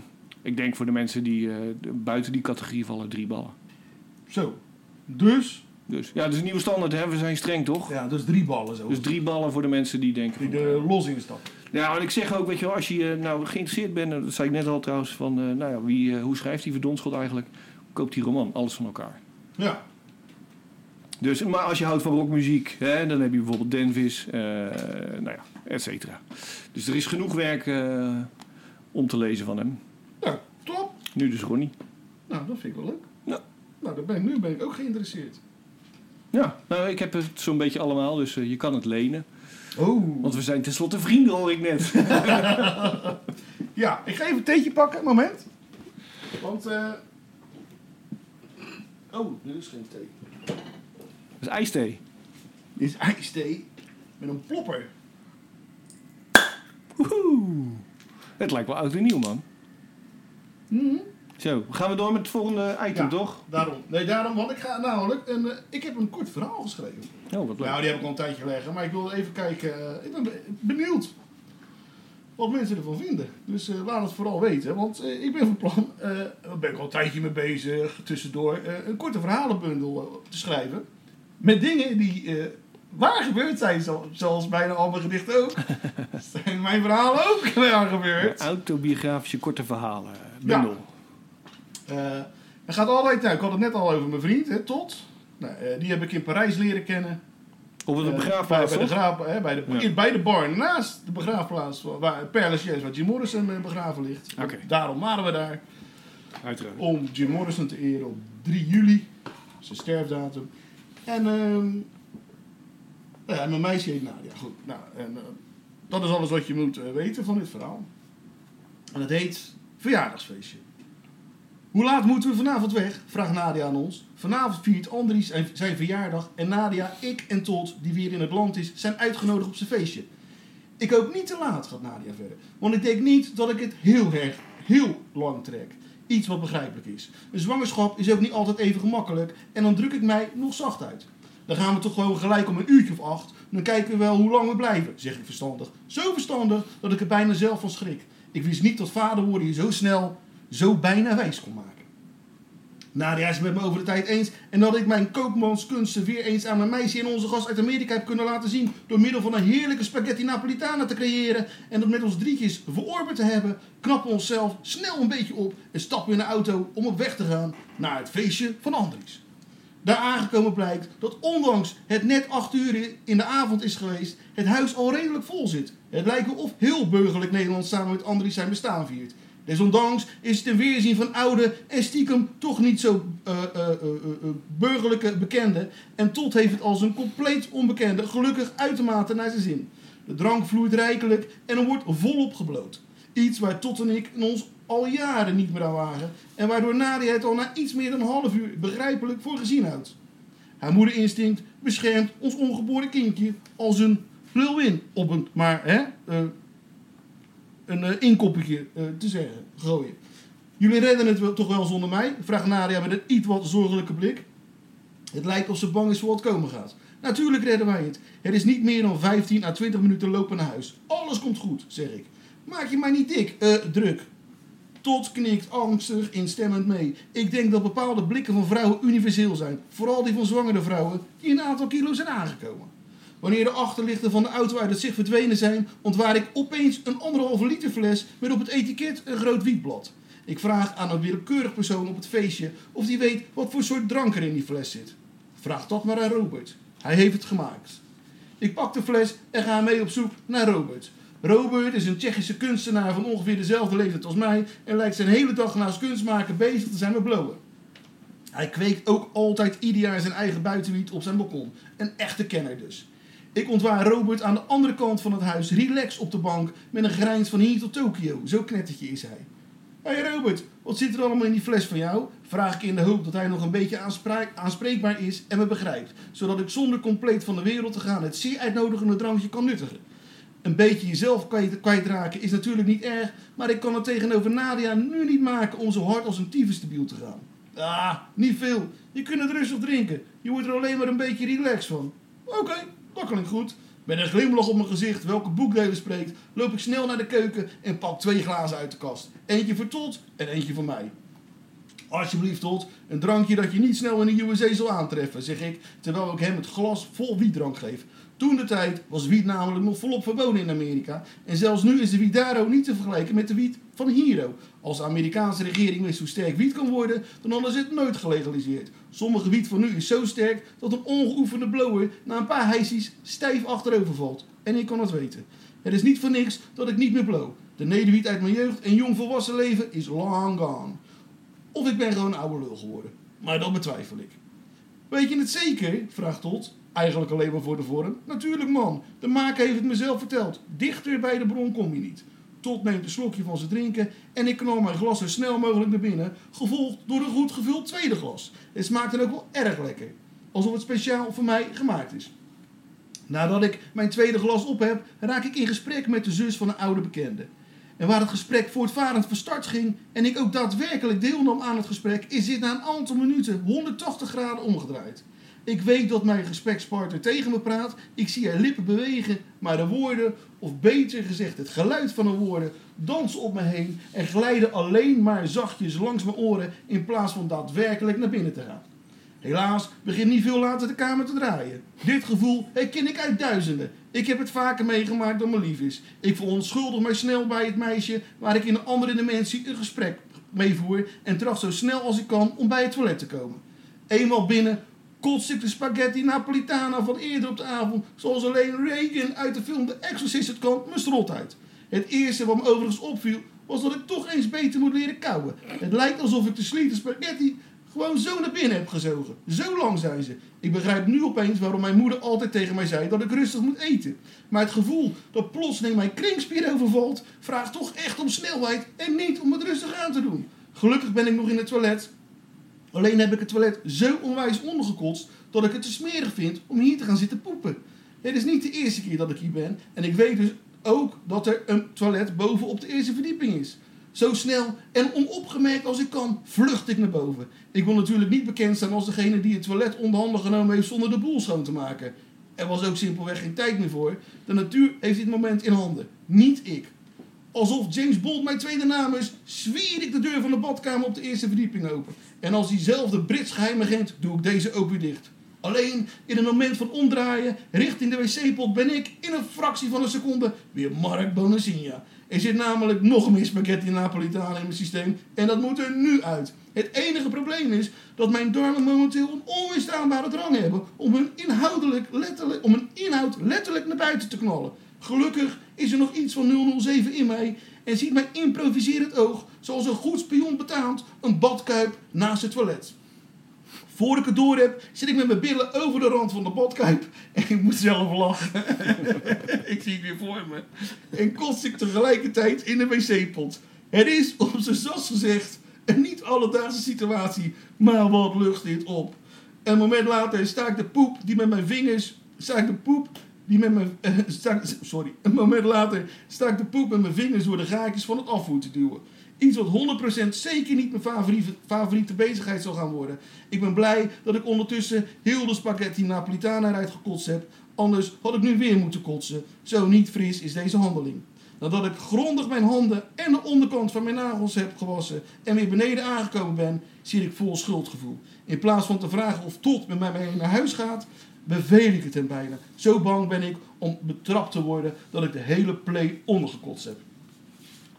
[SPEAKER 6] ik denk voor de mensen die eh, de- buiten die categorie vallen, drie ballen.
[SPEAKER 7] Zo. Dus.
[SPEAKER 6] Dus ja, dat is een nieuwe standaard. Hè? We zijn streng, toch?
[SPEAKER 7] Ja, dus drie ballen zo.
[SPEAKER 6] Dus drie ballen voor de mensen die denken...
[SPEAKER 7] die
[SPEAKER 6] van,
[SPEAKER 7] de eh, los instappen.
[SPEAKER 6] ja, en ik zeg ook, weet je wel, als je eh, nou geïnteresseerd bent, en dat zei ik net al trouwens, van eh, nou ja, wie, eh, hoe schrijft die verdonschot eigenlijk? Koopt die roman, alles van elkaar.
[SPEAKER 7] Ja.
[SPEAKER 6] Dus, maar als je houdt van rockmuziek, hè, dan heb je bijvoorbeeld Denvis, eh nou ja, et cetera. Dus er is genoeg werk eh, om te lezen van hem.
[SPEAKER 7] Nou, top.
[SPEAKER 6] Nu dus Ronnie.
[SPEAKER 7] Nou, dat vind ik wel leuk.
[SPEAKER 6] Ja.
[SPEAKER 7] Nou, daar ben ik, nu ben ik ook geïnteresseerd.
[SPEAKER 6] Ja, nou ik heb het zo'n beetje allemaal, dus eh, je kan het lenen.
[SPEAKER 7] Oh.
[SPEAKER 6] Want we zijn tenslotte vrienden, hoor ik net.
[SPEAKER 7] Ja, ik ga even een theetje pakken, moment. Want, eh. Oh, er is geen thee.
[SPEAKER 6] Dat is ijsthee.
[SPEAKER 7] Dit is ijsthee met een plopper.
[SPEAKER 6] Woehoe. Het lijkt wel oud en nieuw, man.
[SPEAKER 7] Mhm.
[SPEAKER 6] Zo, gaan we door met het volgende item,
[SPEAKER 7] Ja.
[SPEAKER 6] toch?
[SPEAKER 7] Daarom. Nee, daarom, want ik ga namelijk. Een, eh, ik heb een kort verhaal geschreven.
[SPEAKER 6] Oh, wat leuk.
[SPEAKER 7] Nou, die heb ik al een tijdje gelegen, maar ik wil even kijken. eh, ik ben be- benieuwd wat mensen ervan vinden. Dus eh, laat het vooral weten, want eh, ik ben van plan, eh, daar ben ik al een tijdje mee bezig, tussendoor, eh, een korte verhalenbundel eh, te schrijven. Met dingen die eh, waar gebeurd zijn, zo- zoals bijna al mijn gedichten ook. zijn mijn verhalen ook waar gebeurd.
[SPEAKER 6] Autobiografische korte verhalen.
[SPEAKER 7] Ja.
[SPEAKER 6] Bundel.
[SPEAKER 7] Eh, het gaat altijd, nou, ik had het net al over mijn vriend, hè, Tot. Nou, eh, die heb ik in Parijs leren kennen.
[SPEAKER 6] Of het een
[SPEAKER 7] Eh,
[SPEAKER 6] begraafplaats,
[SPEAKER 7] bij, bij de
[SPEAKER 6] toch?
[SPEAKER 7] graaf, hè, bij, de,
[SPEAKER 6] Ja.
[SPEAKER 7] in- bij de barn naast de begraafplaats waar- waar per Lachaise, waar Jim Morrison eh, begraven ligt.
[SPEAKER 6] Oké.
[SPEAKER 7] Daarom waren we daar
[SPEAKER 6] Uiteraard.
[SPEAKER 7] om Jim Morrison te eren op 3 juli, zijn sterfdatum. En ehm, nou ja, mijn meisje heet Nadia. Goed, nou, en, eh, dat is alles wat je moet eh, weten van dit verhaal. En het heet Verjaardagsfeestje. Hoe laat moeten we vanavond weg? Vraagt Nadia aan ons. Vanavond viert Andries zijn- zijn verjaardag en Nadia, ik en Todd, die weer in het land is, zijn uitgenodigd op zijn feestje. Ik hoop niet te laat, gaat Nadia verder. Want ik denk niet dat ik het heel erg, heel lang trek. Iets wat begrijpelijk is. Een zwangerschap is ook niet altijd even gemakkelijk en dan druk ik mij nog zacht uit. Dan gaan we toch gewoon gelijk om een uurtje of acht. Dan kijken we wel hoe lang we blijven, zeg ik verstandig. Zo verstandig dat ik er bijna zelf van schrik. Ik wist niet dat vader worden je zo snel, zo bijna wijs kon maken. Nadia Nou, is het met me over de tijd eens en dat ik mijn koopmanskunsten weer eens aan mijn meisje en onze gast uit Amerika heb kunnen laten zien door middel van een heerlijke spaghetti napolitana te creëren en dat met ons drietjes verorberd te hebben, knappen we onszelf snel een beetje op en stappen in de auto om op weg te gaan naar het feestje van Andries. Daar aangekomen blijkt dat ondanks het net 8 uur in de avond is geweest, het huis al redelijk vol zit. Het lijkt wel of heel burgerlijk Nederland samen met Andries zijn bestaan viert. Desondanks is het een weerzien van oude en stiekem toch niet zo eh, eh, eh, eh, eh, burgerlijke bekenden. En Tot heeft het als een compleet onbekende gelukkig uitermate naar zijn zin. De drank vloeit rijkelijk en er wordt volop gebloot. Iets waar Tot en ik in ons al jaren niet meer aan wagen. En waardoor Nadia het al na iets meer dan een half uur begrijpelijk voor gezien houdt. Haar moederinstinct beschermt ons ongeboren kindje als een lul-in op een, maar hè, eh, een eh, inkoppertje eh, te zeggen, gooien. Jullie redden het wel, toch wel zonder mij? Vraagt Nadia met een iets wat zorgelijke blik. Het lijkt of ze bang is voor wat komen gaat. Natuurlijk redden wij het. Het is niet meer dan 15 à 20 minuten lopen naar huis. Alles komt goed, zeg ik. Maak je maar niet dik, eh, druk. Tot knikt angstig instemmend mee. Ik denk dat bepaalde blikken van vrouwen universeel zijn. Vooral die van zwangere vrouwen die een aantal kilo zijn aangekomen. Wanneer de achterlichten van de auto uit het zicht verdwenen zijn, ontwaar ik opeens een anderhalve liter fles met op het etiket een groot wietblad. Ik vraag aan een willekeurig persoon op het feestje of die weet wat voor soort drank er in die fles zit. Vraag dat maar aan Robert. Hij heeft het gemaakt. Ik pak de fles en ga mee op zoek naar Robert. Robert is een Tsjechische kunstenaar van ongeveer dezelfde leeftijd als mij en lijkt zijn hele dag naast kunstmaken bezig te zijn met blowen. Hij kweekt ook altijd ieder jaar zijn eigen buitenwiet op zijn balkon. Een echte kenner dus. Ik ontwaar Robert aan de andere kant van het huis, relaxed op de bank, met een grijns van hier tot Tokio. Zo knettertje is hij. Hé hey Robert, wat zit er allemaal in die fles van jou? Vraag ik in de hoop dat hij nog een beetje aanspra- aanspreekbaar is en me begrijpt. Zodat ik zonder compleet van de wereld te gaan het zeer uitnodigende drankje kan nuttigen. Een beetje jezelf kwijt, kwijtraken is natuurlijk niet erg, maar ik kan het tegenover Nadia nu niet maken om zo hard als een tyfus te biel te gaan. Ah, niet veel. Je kunt het rustig drinken. Je wordt er alleen maar een beetje relaxed van. Oké, dat klinkt goed. Met een glimlach op mijn gezicht, welke boekdelen spreekt, loop ik snel naar de keuken en pak twee glazen uit de kast. Eentje voor Tot en eentje voor mij. Alsjeblieft, Tot, een drankje dat je niet snel in de USA zal aantreffen, zeg ik, terwijl ik hem het glas vol wietdrank geef. Toen de tijd was wiet namelijk nog volop verboden in Amerika. En zelfs nu is de wiet daar ook niet te vergelijken met de wiet van Hero. Als de Amerikaanse regering wist hoe sterk wiet kan worden, dan hadden ze het nooit gelegaliseerd. Sommige wiet van nu is zo sterk dat een ongeoefende blower na een paar hijsies stijf achterover valt. En ik kan het weten. Het is niet voor niks dat ik niet meer blow. De nederwiet uit mijn jeugd en jong volwassen leven is long gone. Of ik ben gewoon een oude lul geworden. Maar dat betwijfel ik. Weet je het zeker? vraagt Tot. Eigenlijk alleen maar voor de vorm. Natuurlijk man, de maker heeft het mezelf verteld. Dichter bij de bron kom je niet. Tot neemt een slokje van zijn drinken en ik knal mijn glas zo snel mogelijk naar binnen, gevolgd door een goed gevuld tweede glas. Het smaakt dan ook wel erg lekker. Alsof het speciaal voor mij gemaakt is. Nadat ik mijn tweede glas op heb, raak ik in gesprek met de zus van een oude bekende. En waar het gesprek voortvarend van start ging en ik ook daadwerkelijk deelnam aan het gesprek, is dit na een aantal minuten 180 graden omgedraaid. Ik weet dat mijn gesprekspartner tegen me praat, ik zie haar lippen bewegen, maar de woorden, of beter gezegd het geluid van de woorden, dansen op me heen en glijden alleen maar zachtjes langs mijn oren in plaats van daadwerkelijk naar binnen te gaan. Helaas begint niet veel later de kamer te draaien. Dit gevoel herken ik uit duizenden. Ik heb het vaker meegemaakt dan me lief is. Ik verontschuldig mij snel bij het meisje waar ik in een andere dimensie een gesprek mee voer en tracht zo snel als ik kan om bij het toilet te komen. Eenmaal binnen kotst ik de spaghetti napolitana van eerder op de avond, zoals alleen Reagan uit de film The Exorcist het kan, mijn strot uit. Het eerste wat me overigens opviel was dat ik toch eens beter moet leren kauwen. Het lijkt alsof ik de slieten spaghetti gewoon zo naar binnen heb gezogen. Zo lang zijn ze. Ik begrijp nu opeens waarom mijn moeder altijd tegen mij zei dat ik rustig moet eten. Maar het gevoel dat plotseling mijn kringspier overvalt, vraagt toch echt om snelheid en niet om het rustig aan te doen. Gelukkig ben ik nog in het toilet. Alleen heb ik het toilet zo onwijs ondergekotst dat ik het te smerig vind om hier te gaan zitten poepen. Dit is niet de eerste keer dat ik hier ben en ik weet dus ook dat er een toilet boven op de eerste verdieping is. Zo snel en onopgemerkt als ik kan, vlucht ik naar boven. Ik wil natuurlijk niet bekend staan als degene die het toilet onder handen genomen heeft zonder de boel schoon te maken. Er was ook simpelweg geen tijd meer voor. De natuur heeft dit moment in handen, niet ik. Alsof James Bond mijn tweede naam is, zwier ik de deur van de badkamer op de eerste verdieping open. En als diezelfde Brits geheimagent doe ik deze ook weer dicht. Alleen in een moment van omdraaien richting de wc-pot ben ik in een fractie van een seconde weer Mark Bonacinha. Er zit namelijk nog meer spaghetti Napolitaan in mijn systeem en dat moet er nu uit. Het enige probleem is dat mijn darmen momenteel een onweerstaanbare drang hebben om hun, inhoudelijk letterlijk, om hun inhoud letterlijk naar buiten te knallen. Gelukkig is er nog iets van 007 in mij en ziet mijn improviserend oog, zoals een goed spion betaamt, een badkuip naast het toilet. Voor ik het door heb, zit ik met mijn billen over de rand van de badkuip. En ik moet zelf lachen. ik zie het weer voor me. En kost ik tegelijkertijd in de wc-pot. Het is, om zijn zas gezegd, een niet alledaagse situatie. Maar wat lucht dit op. En een moment later sta ik de poep die met mijn vingers... Sta ik de poep die met mijn... eh, sta ik- sorry. Een moment later sta ik de poep met mijn vingers door de gaatjes van het afvoer te duwen. Iets wat 100% zeker niet mijn favoriete, favoriete bezigheid zal gaan worden. Ik ben blij dat ik ondertussen heel de spaghetti Napolitana eruit gekotst heb. Anders had ik nu weer moeten kotsen. Zo niet fris is deze handeling. Nadat ik grondig mijn handen en de onderkant van mijn nagels heb gewassen en weer beneden aangekomen ben, zit ik vol schuldgevoel. In plaats van te vragen of Todd met mij mee naar huis gaat, beveel ik het hem bijna. Zo bang ben ik om betrapt te worden dat ik de hele play ondergekotst heb.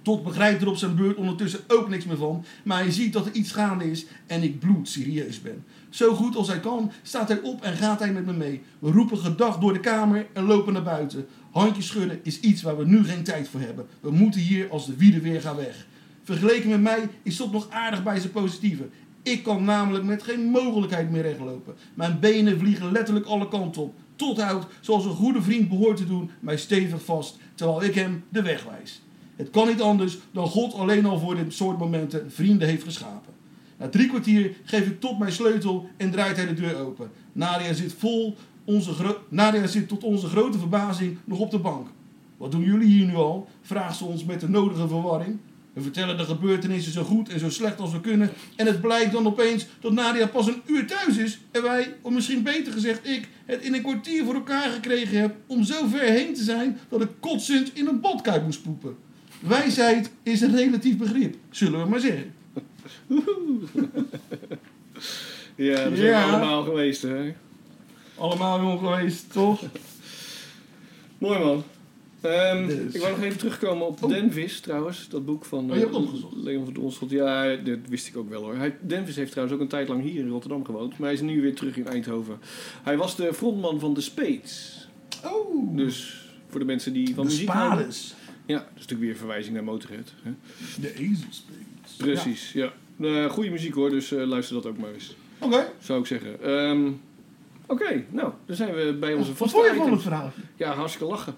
[SPEAKER 7] Tot begrijpt er op zijn beurt ondertussen ook niks meer van. Maar hij ziet dat er iets gaande is en ik bloed serieus ben. Zo goed als hij kan, staat hij op en gaat hij met me mee. We roepen gedag door de kamer en lopen naar buiten. Handjes schudden is iets waar we nu geen tijd voor hebben. We moeten hier als de wielen weer gaan weg. Vergeleken met mij is dat nog aardig bij zijn positieve. Ik kan namelijk met geen mogelijkheid meer rechtlopen. Mijn benen vliegen letterlijk alle kanten op. Tot houdt, zoals een goede vriend behoort te doen, mij stevig vast, terwijl ik hem de weg wijs. Het kan niet anders dan God alleen al voor dit soort momenten vrienden heeft geschapen. Na drie kwartier geef ik tot mijn sleutel en draait hij de deur open. Nadia zit, vol onze gro- Nadia zit tot onze grote verbazing nog op de bank. Wat doen jullie hier nu al? vraagt ze ons met de nodige verwarring. We vertellen de gebeurtenissen zo goed en zo slecht als we kunnen. En het blijkt dan opeens dat Nadia pas een uur thuis is. En wij, of misschien beter gezegd ik, het in een kwartier voor elkaar gekregen heb om zo ver heen te zijn dat ik kotsend in een badkuip moest poepen. Wijsheid is een relatief begrip, zullen we maar zeggen.
[SPEAKER 6] Ja, dat zijn
[SPEAKER 7] Ja.
[SPEAKER 6] we allemaal geweest, hè.
[SPEAKER 7] Allemaal jong geweest, toch?
[SPEAKER 6] Mooi man. Ehm,
[SPEAKER 7] Dus.
[SPEAKER 6] Ik wou nog even terugkomen op
[SPEAKER 7] Oh.
[SPEAKER 6] Denvis trouwens, dat boek van
[SPEAKER 7] Oh, je hebt
[SPEAKER 6] eh,
[SPEAKER 7] het opgezocht.
[SPEAKER 6] Leon van Donschot. Ja, dat wist ik ook wel hoor. Hij, Denvis heeft trouwens ook een tijd lang hier in Rotterdam gewoond, maar hij is nu weer terug in Eindhoven. Hij was de frontman van de Spades.
[SPEAKER 7] Oh,
[SPEAKER 6] Dus voor de mensen die van
[SPEAKER 7] de
[SPEAKER 6] muziek houden.
[SPEAKER 7] spades.
[SPEAKER 6] Ja, dat is natuurlijk weer een verwijzing naar Motorhead. Hè?
[SPEAKER 7] De ezelspades.
[SPEAKER 6] Precies, ja. Eh, goede muziek hoor, dus eh, luister dat ook maar eens,
[SPEAKER 7] Ja. Oké,
[SPEAKER 6] zou ik zeggen. Ehm, Oké, nou, dan zijn we bij onze
[SPEAKER 7] wat
[SPEAKER 6] vaste
[SPEAKER 7] vond je van het
[SPEAKER 6] items.
[SPEAKER 7] verhaal?
[SPEAKER 6] Ja, hartstikke lachen.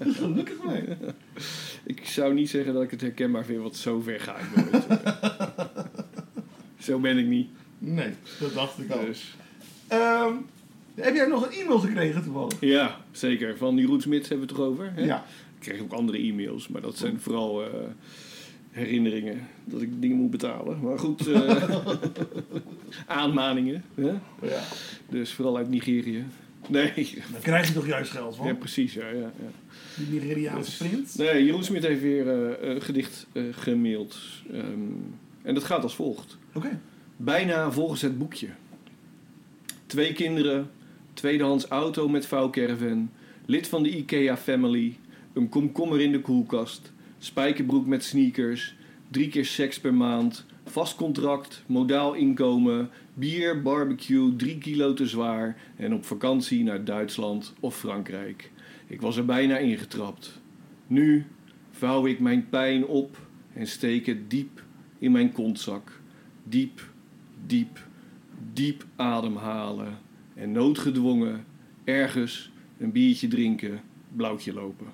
[SPEAKER 7] Gelukkig mee.
[SPEAKER 6] Ik zou niet zeggen dat ik het herkenbaar vind, want zo ver ga ik nooit. zo ben ik niet.
[SPEAKER 7] Nee, dat dacht ik al.
[SPEAKER 6] Dus.
[SPEAKER 7] Ehm, heb jij nog een e-mail gekregen toevallig?
[SPEAKER 6] Ja, zeker. Van die Roet Smits hebben we het toch over? Hè?
[SPEAKER 7] Ja.
[SPEAKER 6] Ik kreeg ook andere e-mails, maar dat zijn vooral eh, herinneringen. Dat ik dingen moet betalen. Maar goed, eh, aanmaningen. Hè?
[SPEAKER 7] ja.
[SPEAKER 6] Dus vooral uit Nigeria. Nee,
[SPEAKER 7] Daar krijg je toch juist geld van?
[SPEAKER 6] ja, precies. Ja, ja, ja.
[SPEAKER 7] Die Nigeriaanse prins?
[SPEAKER 6] Nee, Jeroen Smit heeft weer eh, een gedicht eh, gemaild. Ehm, en dat gaat als volgt.
[SPEAKER 7] Oké.
[SPEAKER 6] Bijna volgens het boekje. Twee kinderen, tweedehands auto met vouwcaravan, lid van de IKEA-family, een komkommer in de koelkast, spijkerbroek met sneakers, drie keer seks per maand, vast contract, modaal inkomen, bier, barbecue, drie kilo te zwaar en op vakantie naar Duitsland of Frankrijk. Ik was er bijna ingetrapt. Nu vouw ik mijn pijn op en steek het diep in mijn kontzak. Diep, diep, diep ademhalen. En noodgedwongen ergens een biertje drinken, blauwtje lopen.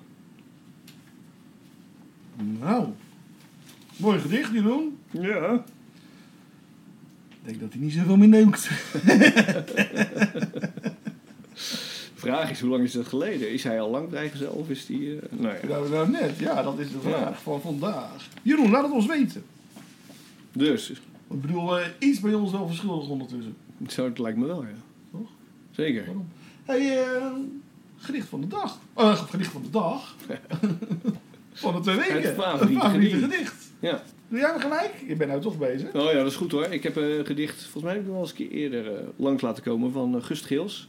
[SPEAKER 7] Nou, Mooi gedicht, Jeroen.
[SPEAKER 6] Ja.
[SPEAKER 7] Ik denk dat hij niet zoveel meer neukt.
[SPEAKER 6] Vraag is, hoe lang is dat geleden? Is hij al lang vrijgezel of is die... eh nou ja.
[SPEAKER 7] Nou, nou net, ja, dat is de vraag
[SPEAKER 6] Ja.
[SPEAKER 7] van vandaag. Jeroen, laat het ons weten.
[SPEAKER 6] Dus,
[SPEAKER 7] Ik bedoel, eh, iets bij ons wel verschuldigd ondertussen.
[SPEAKER 6] zo het lijkt me wel, ja.
[SPEAKER 7] Toch?
[SPEAKER 6] Zeker.
[SPEAKER 7] Waarom? hey, eh, gedicht van de dag. Eh, gedicht van de dag. van de twee weken.
[SPEAKER 6] Het favoriete
[SPEAKER 7] Een favoriete
[SPEAKER 6] gedicht.
[SPEAKER 7] gedicht.
[SPEAKER 6] Ja.
[SPEAKER 7] Doe jij me gelijk? Je bent nou toch bezig?
[SPEAKER 6] Oh ja, dat is goed hoor. Ik heb eh, een gedicht, volgens mij heb ik hem al eens een keer eerder eh, langs laten komen, van eh, Gust Geels.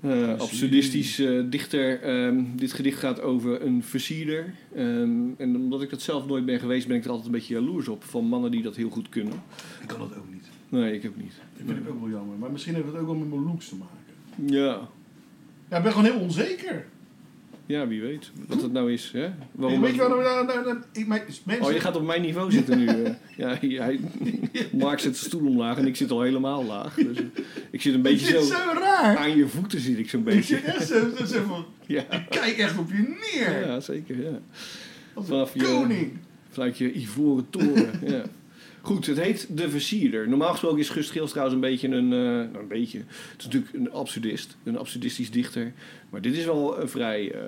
[SPEAKER 6] Eh, absurdistisch eh, dichter. Ehm, dit gedicht gaat over een versierder. Ehm, en omdat ik dat zelf nooit ben geweest, ben ik er altijd een beetje jaloers op van mannen die dat heel goed kunnen.
[SPEAKER 7] Ik kan dat ook niet.
[SPEAKER 6] Nee, ik ook niet.
[SPEAKER 7] Dat vind ik ook wel jammer. Maar misschien heeft het ook wel met mijn looks te maken.
[SPEAKER 6] Ja,
[SPEAKER 7] Ja, ik ben gewoon heel onzeker.
[SPEAKER 6] ja wie weet wat dat nou is. Hè?
[SPEAKER 7] Ik
[SPEAKER 6] Waarom
[SPEAKER 7] weet je waarom? Nou, nou, nou, ik, mijn, mensen,
[SPEAKER 6] Oh, je gaat op mijn niveau zitten nu. eh. Ja, hij, hij- Mark zit de stoel omlaag en ik zit al helemaal laag. Dus eh, ik zit een
[SPEAKER 7] het
[SPEAKER 6] beetje
[SPEAKER 7] is
[SPEAKER 6] zo...
[SPEAKER 7] zo raar.
[SPEAKER 6] Aan je voeten zit ik zo'n
[SPEAKER 7] Ik
[SPEAKER 6] beetje.
[SPEAKER 7] zit echt zo, zo, zo van,
[SPEAKER 6] Ja.
[SPEAKER 7] ik kijk echt op je neer.
[SPEAKER 6] Ja, zeker. Ja.
[SPEAKER 7] Als
[SPEAKER 6] Vanaf
[SPEAKER 7] een
[SPEAKER 6] je-
[SPEAKER 7] koning.
[SPEAKER 6] Vanuit je ivoren toren. ja. Goed, het heet De Versierder. Normaal gesproken is Gust Geels trouwens een beetje een... eh, nou, een beetje. Het is natuurlijk een absurdist. Een absurdistisch dichter. Maar dit is wel een vrij eh,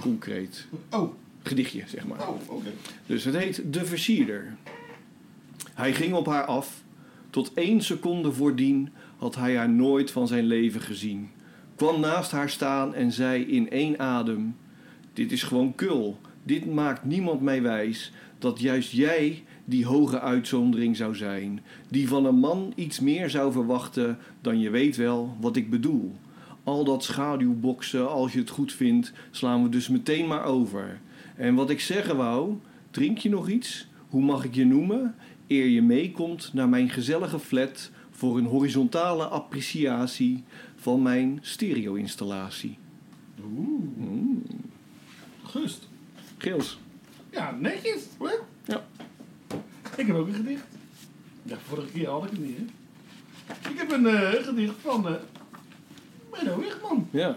[SPEAKER 6] concreet
[SPEAKER 7] Oh,
[SPEAKER 6] gedichtje, zeg maar.
[SPEAKER 7] oh, oké.
[SPEAKER 6] Dus het heet De Versierder. Hij ging op haar af. Tot één seconde voordien had hij haar nooit van zijn leven gezien. Kwam naast haar staan en zei in één adem: Dit is gewoon kul. Dit maakt niemand mij wijs dat juist jij die hoge uitzondering zou zijn. Die van een man iets meer zou verwachten dan je weet wel wat ik bedoel. Al dat schaduwboksen, als je het goed vindt, slaan we dus meteen maar over. En wat ik zeggen wou, drink je nog iets? Hoe mag ik je noemen? Eer je meekomt naar mijn gezellige flat voor een horizontale appreciatie van mijn stereo-installatie.
[SPEAKER 7] Oeh,
[SPEAKER 6] Mm,
[SPEAKER 7] gust.
[SPEAKER 6] Geels.
[SPEAKER 7] Ja, netjes. Hoor.
[SPEAKER 6] Ja.
[SPEAKER 7] Ik heb ook een gedicht. Ja, vorige keer had ik het niet, hè. Ik heb een eh, gedicht van eh Menno Wichman.
[SPEAKER 6] Ja,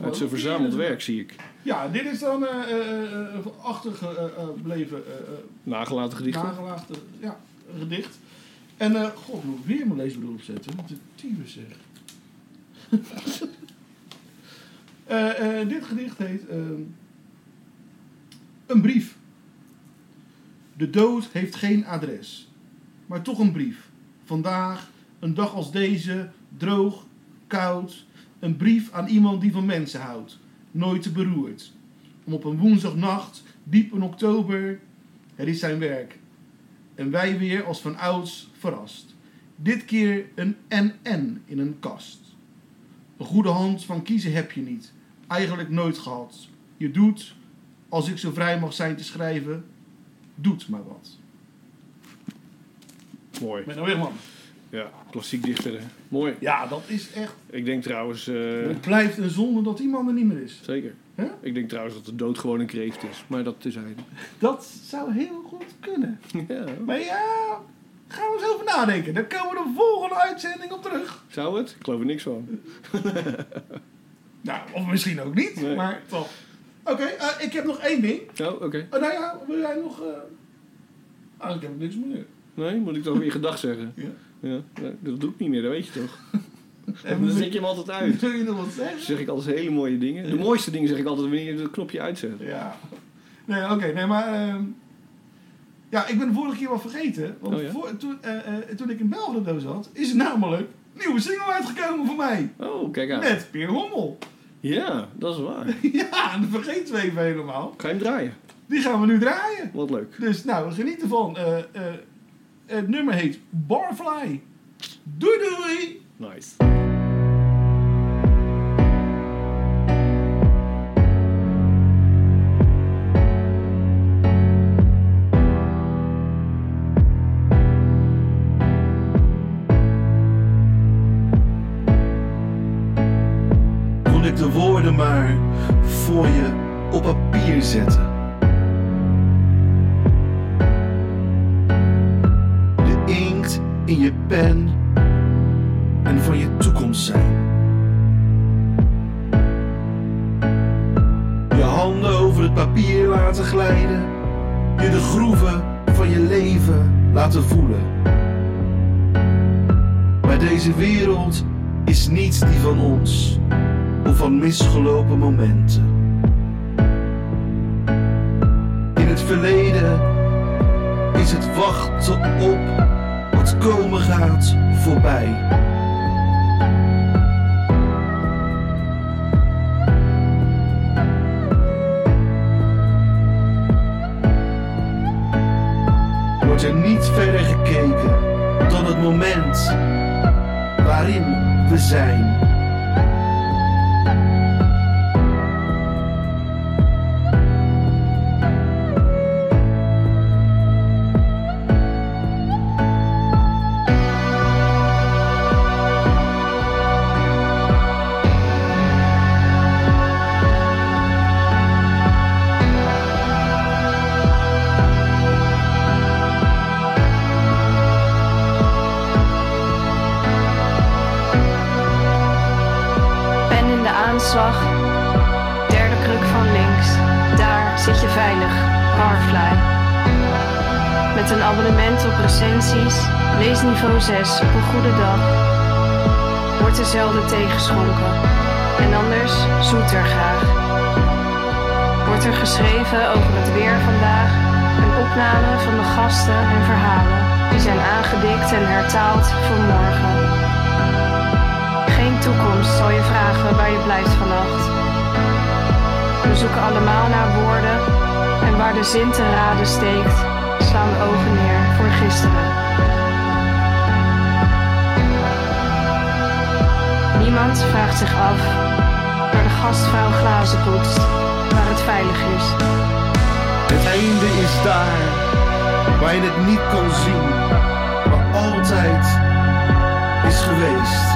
[SPEAKER 6] uit zijn verzameld werk zie ik.
[SPEAKER 7] Ja, dit is dan eh, eh, eh, achtergebleven eh, eh,
[SPEAKER 6] Nagelaten gedicht. hoor.
[SPEAKER 7] nagelaten ja, een gedicht. En eh god, moet ik weer mijn leesbril opzetten? Wat een tyfus zeg. Eh, eh, dit gedicht heet ehm, Een brief. De dood heeft geen adres, maar toch een brief. Vandaag, een dag als deze, droog, koud. Een brief aan iemand die van mensen houdt, nooit te beroerd. Om op een woensdagnacht, diep in oktober, het is zijn werk. En wij weer als van ouds verrast. Dit keer een NN in een kast. Een goede hand van kiezen heb je niet. Eigenlijk nooit gehad. Je doet, als ik zo vrij mag zijn te schrijven, doet maar wat.
[SPEAKER 6] Mooi.
[SPEAKER 7] Menno Wigman.
[SPEAKER 6] Ja, klassiek dichter. hè. Mooi.
[SPEAKER 7] Ja, dat is echt...
[SPEAKER 6] Ik denk trouwens... eh,
[SPEAKER 7] Het blijft een zonde dat die man er niet meer is.
[SPEAKER 6] zeker.
[SPEAKER 7] Hè?
[SPEAKER 6] Ik denk trouwens dat de dood gewoon een kreeft is. Maar dat is hij.
[SPEAKER 7] Dat zou heel goed kunnen.
[SPEAKER 6] Ja.
[SPEAKER 7] Maar ja, gaan we eens over nadenken. Dan komen we de volgende uitzending op terug.
[SPEAKER 6] Zou het? Ik geloof er niks van.
[SPEAKER 7] Nou, of misschien ook niet,
[SPEAKER 6] Nee.
[SPEAKER 7] maar toch. Oké, eh, ik heb nog één ding.
[SPEAKER 6] Oh, oké.
[SPEAKER 7] Oh, nou ja, wil jij nog... eh Ah, ik heb niks meer.
[SPEAKER 6] Nee, moet ik dan weer gedag zeggen?
[SPEAKER 7] Ja.
[SPEAKER 6] Ja, nee, dat doe ik niet meer, dat weet je toch?
[SPEAKER 7] En
[SPEAKER 6] Dan zet je hem altijd uit.
[SPEAKER 7] Wil je nog wat
[SPEAKER 6] Dan
[SPEAKER 7] zeggen?
[SPEAKER 6] zeg ik altijd hele mooie dingen. De mooiste dingen zeg ik altijd wanneer je het knopje uitzet.
[SPEAKER 7] Ja. Nee, oké, nee, maar... ehm, ja, ik ben de vorige keer wel vergeten. Want
[SPEAKER 6] Oh, ja?
[SPEAKER 7] voor- toen, eh, eh, toen ik in Belgrado zat, is er namelijk een nieuwe single uitgekomen voor mij.
[SPEAKER 6] Oh, kijk aan.
[SPEAKER 7] Met Peer Hommel.
[SPEAKER 6] Ja, dat is waar.
[SPEAKER 7] ja, dat vergeten we even helemaal.
[SPEAKER 6] Ga je hem draaien?
[SPEAKER 7] Die gaan we nu draaien.
[SPEAKER 6] Wat leuk.
[SPEAKER 7] Dus nou, geniet ervan. Eh, eh, het nummer heet Barfly. Doei doei!
[SPEAKER 6] Nice.
[SPEAKER 5] kon ik de woorden maar voor je op papier zetten. De inkt in je pen en van je toekomst zijn. Je handen over het papier laten glijden, je de groeven
[SPEAKER 7] van je leven laten voelen. Maar deze wereld is niet die van ons of van misgelopen momenten. In het verleden is het wachten op wat komen gaat voorbij. wordt er niet verder gekeken dan het moment waarin we zijn.
[SPEAKER 8] Ben in de aanslag. Derde kruk van links. Daar zit je veilig. Carfly. Met een abonnement op recensies. Lees niveau 6 op een goede dag. Wordt er zelden tegenschonken. En anders zoet er graag. Wordt er geschreven over het weer vandaag. Een opname van de gasten en verhalen. Die zijn aangedikt en hertaald voor morgen. Geen toekomst zal je vragen waar je blijft vannacht. We zoeken allemaal naar woorden en waar de zin te raden steekt, slaan we ogen neer voor gisteren. Niemand vraagt zich af waar de gastvrouw glazen poetst, waar het veilig is.
[SPEAKER 7] Het einde is daar, waar je het niet kan zien, maar altijd is geweest.